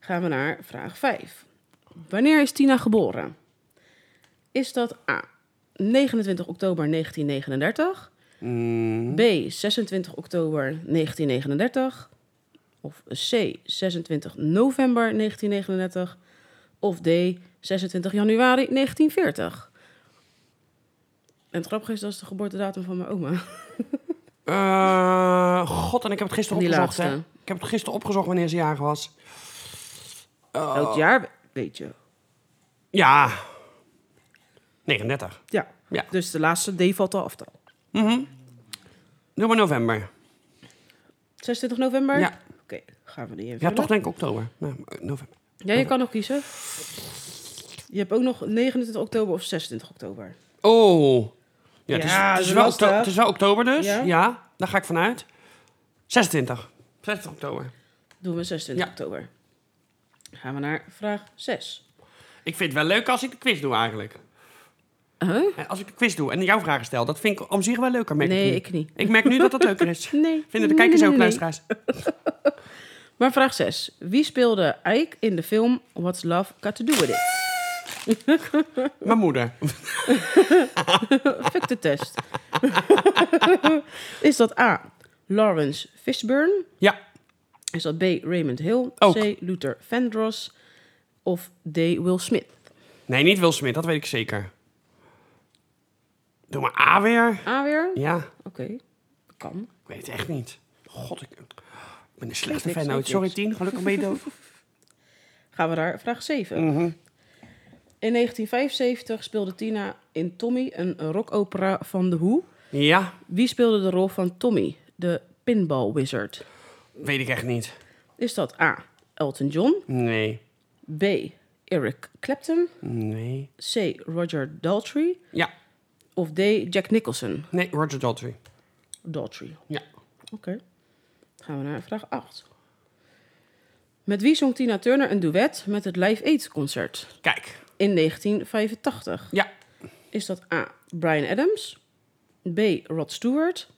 [SPEAKER 2] Gaan we naar vraag 5. Wanneer is Tina geboren? Is dat A. 29 oktober 1939? B. 26 oktober 1939? Of C. 26 november 1939? Of D. 26 januari 1940? En het grappige is, dat is de geboortedatum van mijn oma.
[SPEAKER 1] Eh, God, en ik heb het gisteren
[SPEAKER 2] Die
[SPEAKER 1] opgezocht. Hè.
[SPEAKER 2] laatste.
[SPEAKER 1] Ik heb het gisteren opgezocht wanneer ze jarig was.
[SPEAKER 2] Elk jaar, weet je.
[SPEAKER 1] Ja. 39.
[SPEAKER 2] Ja.
[SPEAKER 1] Ja.
[SPEAKER 2] Dus de laatste D valt al af. dan.
[SPEAKER 1] Mhm. Doe maar november.
[SPEAKER 2] 26 november?
[SPEAKER 1] Ja.
[SPEAKER 2] Oké, gaan we die in
[SPEAKER 1] Ja,
[SPEAKER 2] verder.
[SPEAKER 1] toch denk ik oktober. Nou, eh, november.
[SPEAKER 2] Ja, je kan nog kiezen. Je hebt ook nog 29 oktober of 26 oktober.
[SPEAKER 1] Oh. Ja, het, is,
[SPEAKER 2] Ja,
[SPEAKER 1] het
[SPEAKER 2] dat
[SPEAKER 1] is
[SPEAKER 2] is
[SPEAKER 1] wel
[SPEAKER 2] lastig.
[SPEAKER 1] okto- het is wel oktober dus. Ja.
[SPEAKER 2] Ja.
[SPEAKER 1] daar ga ik vanuit. 26. 26 oktober.
[SPEAKER 2] Doen we 26
[SPEAKER 1] Ja.
[SPEAKER 2] oktober. Gaan we naar vraag 6.
[SPEAKER 1] Ik vind het wel leuk als ik de quiz doe eigenlijk. Eh, Als ik de quiz doe en jouw vragen stel, dat vind ik om zich wel leuker. Merk
[SPEAKER 2] Nee,
[SPEAKER 1] nu.
[SPEAKER 2] ik niet.
[SPEAKER 1] Ik merk nu dat dat leuker is.
[SPEAKER 2] Nee.
[SPEAKER 1] Vinden de kijkers
[SPEAKER 2] Nee,
[SPEAKER 1] ook
[SPEAKER 2] nee, nee.
[SPEAKER 1] luisteraars?
[SPEAKER 2] Maar vraag 6. Wie speelde Ike in de film What's Love Got To Do With It?
[SPEAKER 1] Mijn moeder.
[SPEAKER 2] Fuck de test. Is dat A. Lawrence Fishburne?
[SPEAKER 1] Ja.
[SPEAKER 2] Is dat B. Raymond Hill?
[SPEAKER 1] Ook.
[SPEAKER 2] C. Luther Vandross? Of D. Will Smith?
[SPEAKER 1] Nee, niet Will Smith, dat weet ik zeker. Doe maar A weer.
[SPEAKER 2] A weer?
[SPEAKER 1] Ja,
[SPEAKER 2] Oké, kan.
[SPEAKER 1] ik weet het echt niet. God, ik, ik ben een slechte
[SPEAKER 2] Niks,
[SPEAKER 1] fan
[SPEAKER 2] niks,
[SPEAKER 1] ooit. Sorry,
[SPEAKER 2] niks.
[SPEAKER 1] Tien. Gelukkig ben je dood.
[SPEAKER 2] Gaan we naar vraag 7. In 1975 speelde Tina in Tommy een rockopera van The Who.
[SPEAKER 1] Ja,
[SPEAKER 2] Wie speelde de rol van Tommy, de pinball wizard?
[SPEAKER 1] weet ik echt niet.
[SPEAKER 2] Is dat A. Elton John,
[SPEAKER 1] Nee.
[SPEAKER 2] B. Eric Clapton,
[SPEAKER 1] Nee.
[SPEAKER 2] C. Roger Daltrey
[SPEAKER 1] Ja,
[SPEAKER 2] of D. Jack Nicholson?
[SPEAKER 1] nee, Roger Daltrey.
[SPEAKER 2] Daltrey.
[SPEAKER 1] Ja.
[SPEAKER 2] Oké. Gaan we naar vraag 8. Met wie zong Tina Turner een duet met het Live Aid concert
[SPEAKER 1] Kijk.
[SPEAKER 2] in 1985?
[SPEAKER 1] Ja.
[SPEAKER 2] Is dat A. Brian Adams, B. Rod Stewart,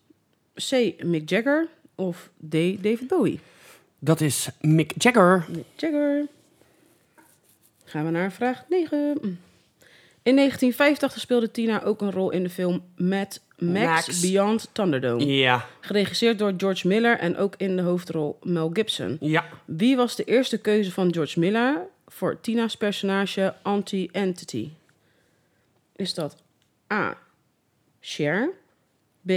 [SPEAKER 2] C. Mick Jagger of D. David Bowie?
[SPEAKER 1] Dat is Mick Jagger.
[SPEAKER 2] Mick Jagger. Gaan we naar vraag 9. In 1985 speelde Tina ook een rol in de film Mad Max,
[SPEAKER 1] Max.
[SPEAKER 2] Beyond Thunderdome.
[SPEAKER 1] Ja.
[SPEAKER 2] Geregisseerd door George Miller en ook in de hoofdrol Mel Gibson.
[SPEAKER 1] Ja.
[SPEAKER 2] Wie was de eerste keuze van George Miller voor Tina's personage Anti-Entity? Is dat A. Cher, B.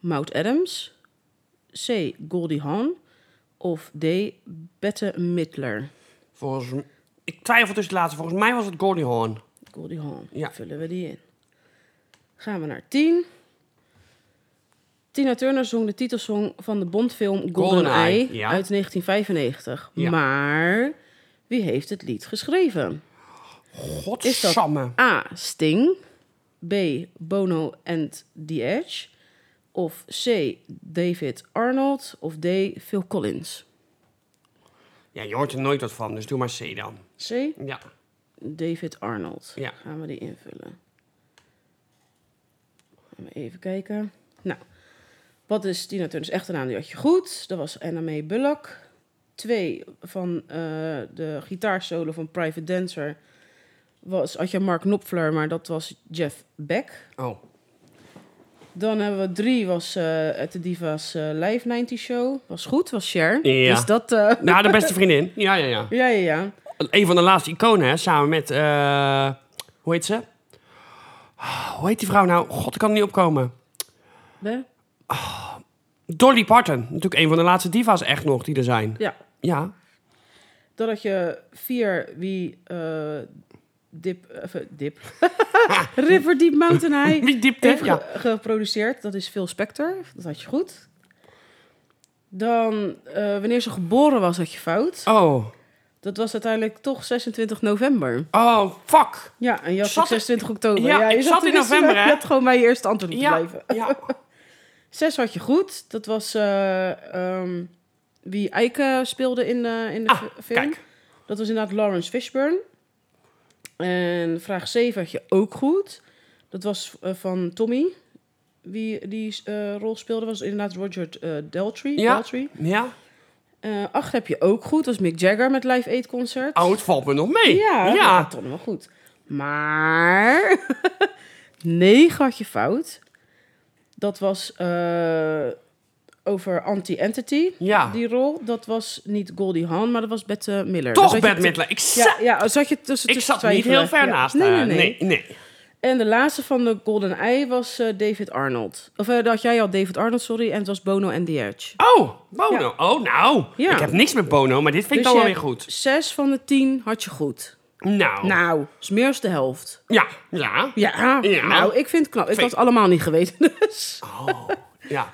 [SPEAKER 2] Maud Adams, C. Goldie Hawn of D. Bette Midler?
[SPEAKER 1] Volgens m- Ik twijfel tussen de laatste. Volgens mij was het Goldie Hawn.
[SPEAKER 2] Goldie Hawn,
[SPEAKER 1] Ja.
[SPEAKER 2] vullen we die in. Gaan we naar 10. Tina Turner zong de titelsong van de Bondfilm
[SPEAKER 1] GoldenEye,
[SPEAKER 2] GoldenEye
[SPEAKER 1] ja.
[SPEAKER 2] uit 1995.
[SPEAKER 1] Ja.
[SPEAKER 2] Maar wie heeft het lied geschreven?
[SPEAKER 1] Godsamme.
[SPEAKER 2] A. Sting. B. Bono and The Edge. Of C. David Arnold. Of D. Phil Collins.
[SPEAKER 1] Ja, je hoort er nooit wat van, dus doe maar C dan.
[SPEAKER 2] C.
[SPEAKER 1] Ja.
[SPEAKER 2] David Arnold.
[SPEAKER 1] Ja.
[SPEAKER 2] Gaan we die invullen. Gaan we Even kijken. Nou, wat is Tina Turner's echte naam? Die had je goed. Dat was Anna-May Bullock. Twee van eh, de gitaarsolo van Private Dancer was, had je Mark Knopfler, maar dat was Jeff Beck.
[SPEAKER 1] Oh.
[SPEAKER 2] Dan hebben we drie, was eh uit de Divas eh, Live 90 Show. Was goed, was Cher.
[SPEAKER 1] Ja.
[SPEAKER 2] Dus dat... eh,
[SPEAKER 1] Nou, de beste vriendin. Ja, ja, ja.
[SPEAKER 2] ja, ja, ja.
[SPEAKER 1] Een van de laatste iconen, hè, samen met... eh, hoe heet ze? Ah, Hoe heet die vrouw nou? God, ik kan er niet opkomen.
[SPEAKER 2] Hè?
[SPEAKER 1] Dolly Parton. Natuurlijk een van de laatste diva's echt nog die er zijn.
[SPEAKER 2] Ja.
[SPEAKER 1] Ja.
[SPEAKER 2] Dan had je vier, wie... eh, dip... even dip. River Deep Mountain High
[SPEAKER 1] Wie dipt
[SPEAKER 2] heeft
[SPEAKER 1] dit?
[SPEAKER 2] ge-
[SPEAKER 1] Ja.
[SPEAKER 2] geproduceerd. Dat is Phil Spector. Dat had je goed. Dan, eh, wanneer ze geboren was, had je fout.
[SPEAKER 1] Oh.
[SPEAKER 2] Dat was uiteindelijk toch 26 november.
[SPEAKER 1] Oh, fuck.
[SPEAKER 2] Ja, en je had
[SPEAKER 1] Zat-
[SPEAKER 2] 26 oktober.
[SPEAKER 1] Ja,
[SPEAKER 2] je
[SPEAKER 1] ik zat
[SPEAKER 2] te
[SPEAKER 1] in
[SPEAKER 2] wisselen.
[SPEAKER 1] november, hè?
[SPEAKER 2] Je had gewoon bij je eerste antwoord moeten
[SPEAKER 1] Ja,
[SPEAKER 2] blijven.
[SPEAKER 1] ja.
[SPEAKER 2] Zes had je goed. Dat was eh, ehm, wie Eike speelde in, eh, in de
[SPEAKER 1] Ah,
[SPEAKER 2] fi- film.
[SPEAKER 1] kijk.
[SPEAKER 2] Dat was inderdaad Lawrence Fishburne. En vraag 7 had je ook goed. Dat was eh, van Tommy. Wie die eh, rol speelde was inderdaad Roger eh, Daltrey.
[SPEAKER 1] Ja.
[SPEAKER 2] Daltrey.
[SPEAKER 1] Ja.
[SPEAKER 2] Eh, acht heb je ook goed. Dat was Mick Jagger met Live Aid Concert.
[SPEAKER 1] Oh, het valt me nog mee.
[SPEAKER 2] Ja, dat
[SPEAKER 1] Ja.
[SPEAKER 2] gaat toch nog wel goed. Maar 9 had je fout. Dat was eh, over Anti-Entity,
[SPEAKER 1] Ja.
[SPEAKER 2] die rol. Dat was niet Goldie Hawn, maar dat was Bette Miller. Dus
[SPEAKER 1] Toch
[SPEAKER 2] had je
[SPEAKER 1] Bette
[SPEAKER 2] te-
[SPEAKER 1] Midler. Ik, za-
[SPEAKER 2] Ja, ja, zat je tussen
[SPEAKER 1] ik
[SPEAKER 2] tussen
[SPEAKER 1] zat niet heel
[SPEAKER 2] twijfelen.
[SPEAKER 1] ver
[SPEAKER 2] Ja.
[SPEAKER 1] naast
[SPEAKER 2] nee, nee,
[SPEAKER 1] haar.
[SPEAKER 2] nee,
[SPEAKER 1] nee. nee.
[SPEAKER 2] En de laatste van de Golden Eye was eh, David Arnold. Of eh, dat had jij al David Arnold, sorry. En het was Bono and the Edge.
[SPEAKER 1] Oh, Bono. Oh, nou.
[SPEAKER 2] Ja.
[SPEAKER 1] Ik heb niks met Bono, maar dit vind ik
[SPEAKER 2] Dus
[SPEAKER 1] dan wel
[SPEAKER 2] je
[SPEAKER 1] weer
[SPEAKER 2] hebt
[SPEAKER 1] goed.
[SPEAKER 2] Zes van de tien had je goed.
[SPEAKER 1] Nou.
[SPEAKER 2] Nou, dat is meer als de helft.
[SPEAKER 1] Ja. Ja.
[SPEAKER 2] Ja,
[SPEAKER 1] Ja.
[SPEAKER 2] nou, ik vind het knap. Ik
[SPEAKER 1] Twee.
[SPEAKER 2] had het allemaal niet geweten, dus...
[SPEAKER 1] Oh, ja.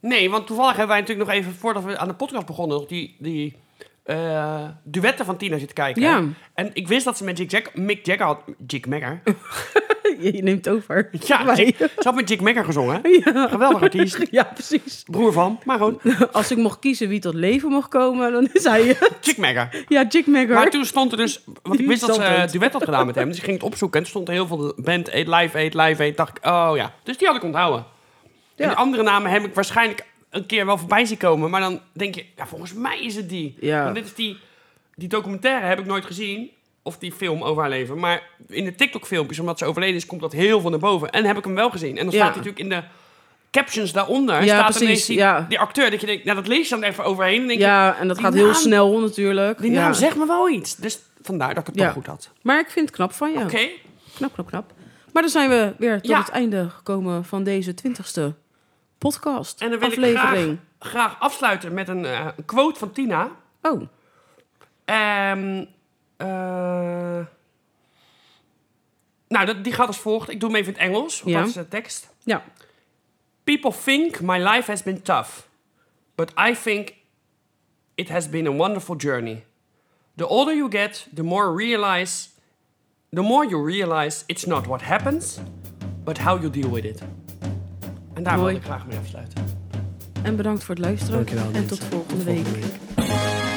[SPEAKER 1] Nee, want toevallig hebben wij natuurlijk nog even, voordat we aan de podcast begonnen, nog die, die eh, duetten van Tina zitten kijken.
[SPEAKER 2] Ja.
[SPEAKER 1] En ik wist dat ze met Jig Jack, Mick Jagger had... Jig Magger?
[SPEAKER 2] Je je neemt over.
[SPEAKER 1] Oh. Ja,
[SPEAKER 2] Wij-
[SPEAKER 1] Jig- ze had met Jig Magger gezongen. hè? Geweldig artiest.
[SPEAKER 2] ja, precies.
[SPEAKER 1] Broer van, maar gewoon
[SPEAKER 2] Als ik mocht kiezen wie tot leven mocht komen, dan is hij...
[SPEAKER 1] Jig Magger.
[SPEAKER 2] ja, Jig Megger.
[SPEAKER 1] Maar toen stond er dus... Want ik wist dat ze eh,
[SPEAKER 2] Standpunt.
[SPEAKER 1] duet had gedaan met hem. Dus ik ging het opzoeken. En er stond heel veel band Eet Live Eet Live Eet. dacht ik, oh ja. Dus die had ik onthouden.
[SPEAKER 2] Ja.
[SPEAKER 1] En de andere namen heb ik waarschijnlijk een keer wel voorbij zien komen. Maar dan denk je, ja, volgens mij is het die.
[SPEAKER 2] Ja.
[SPEAKER 1] Want dit is die, die documentaire heb ik nooit gezien. Of die film over haar leven. Maar in de TikTok-filmpjes, omdat ze overleden is, komt dat heel veel naar boven. En heb ik hem wel gezien. En dan
[SPEAKER 2] Ja.
[SPEAKER 1] staat hij natuurlijk in de captions daaronder.
[SPEAKER 2] Ja,
[SPEAKER 1] staat
[SPEAKER 2] precies,
[SPEAKER 1] ineens die,
[SPEAKER 2] ja.
[SPEAKER 1] die acteur. Dat je denkt, nou dat lees je dan even overheen. En denk je,
[SPEAKER 2] Ja, en dat
[SPEAKER 1] die
[SPEAKER 2] gaat heel
[SPEAKER 1] naam-
[SPEAKER 2] snel natuurlijk.
[SPEAKER 1] die
[SPEAKER 2] ja.
[SPEAKER 1] naam zegt me wel iets. Dus vandaar dat ik het
[SPEAKER 2] Ja.
[SPEAKER 1] toch goed had.
[SPEAKER 2] Maar ik vind het knap van je.
[SPEAKER 1] Oké.
[SPEAKER 2] Knap, knap, knap. Maar dan zijn we weer tot
[SPEAKER 1] Ja.
[SPEAKER 2] het einde gekomen van deze twintigste podcast.
[SPEAKER 1] En dan wil
[SPEAKER 2] aflevering.
[SPEAKER 1] ik graag, graag afsluiten met een eh, een quote van Tina.
[SPEAKER 2] Oh,
[SPEAKER 1] Ehm, eh, nou, dat, die gaat als volgt. Ik doe hem even in het Engels, want
[SPEAKER 2] Ja.
[SPEAKER 1] dat is de tekst.
[SPEAKER 2] ja.
[SPEAKER 1] People think my life has been tough, but I think it has been a wonderful journey. The older you get, the more realize, the more you realize it's not what happens, but how you deal with it. En daar wil
[SPEAKER 2] Mooi.
[SPEAKER 1] ik graag mee afsluiten.
[SPEAKER 2] En bedankt voor het luisteren.
[SPEAKER 1] Dankjewel,
[SPEAKER 2] en
[SPEAKER 1] Linse.
[SPEAKER 2] tot
[SPEAKER 1] Tot
[SPEAKER 2] volgende
[SPEAKER 1] volgende
[SPEAKER 2] week.
[SPEAKER 1] week.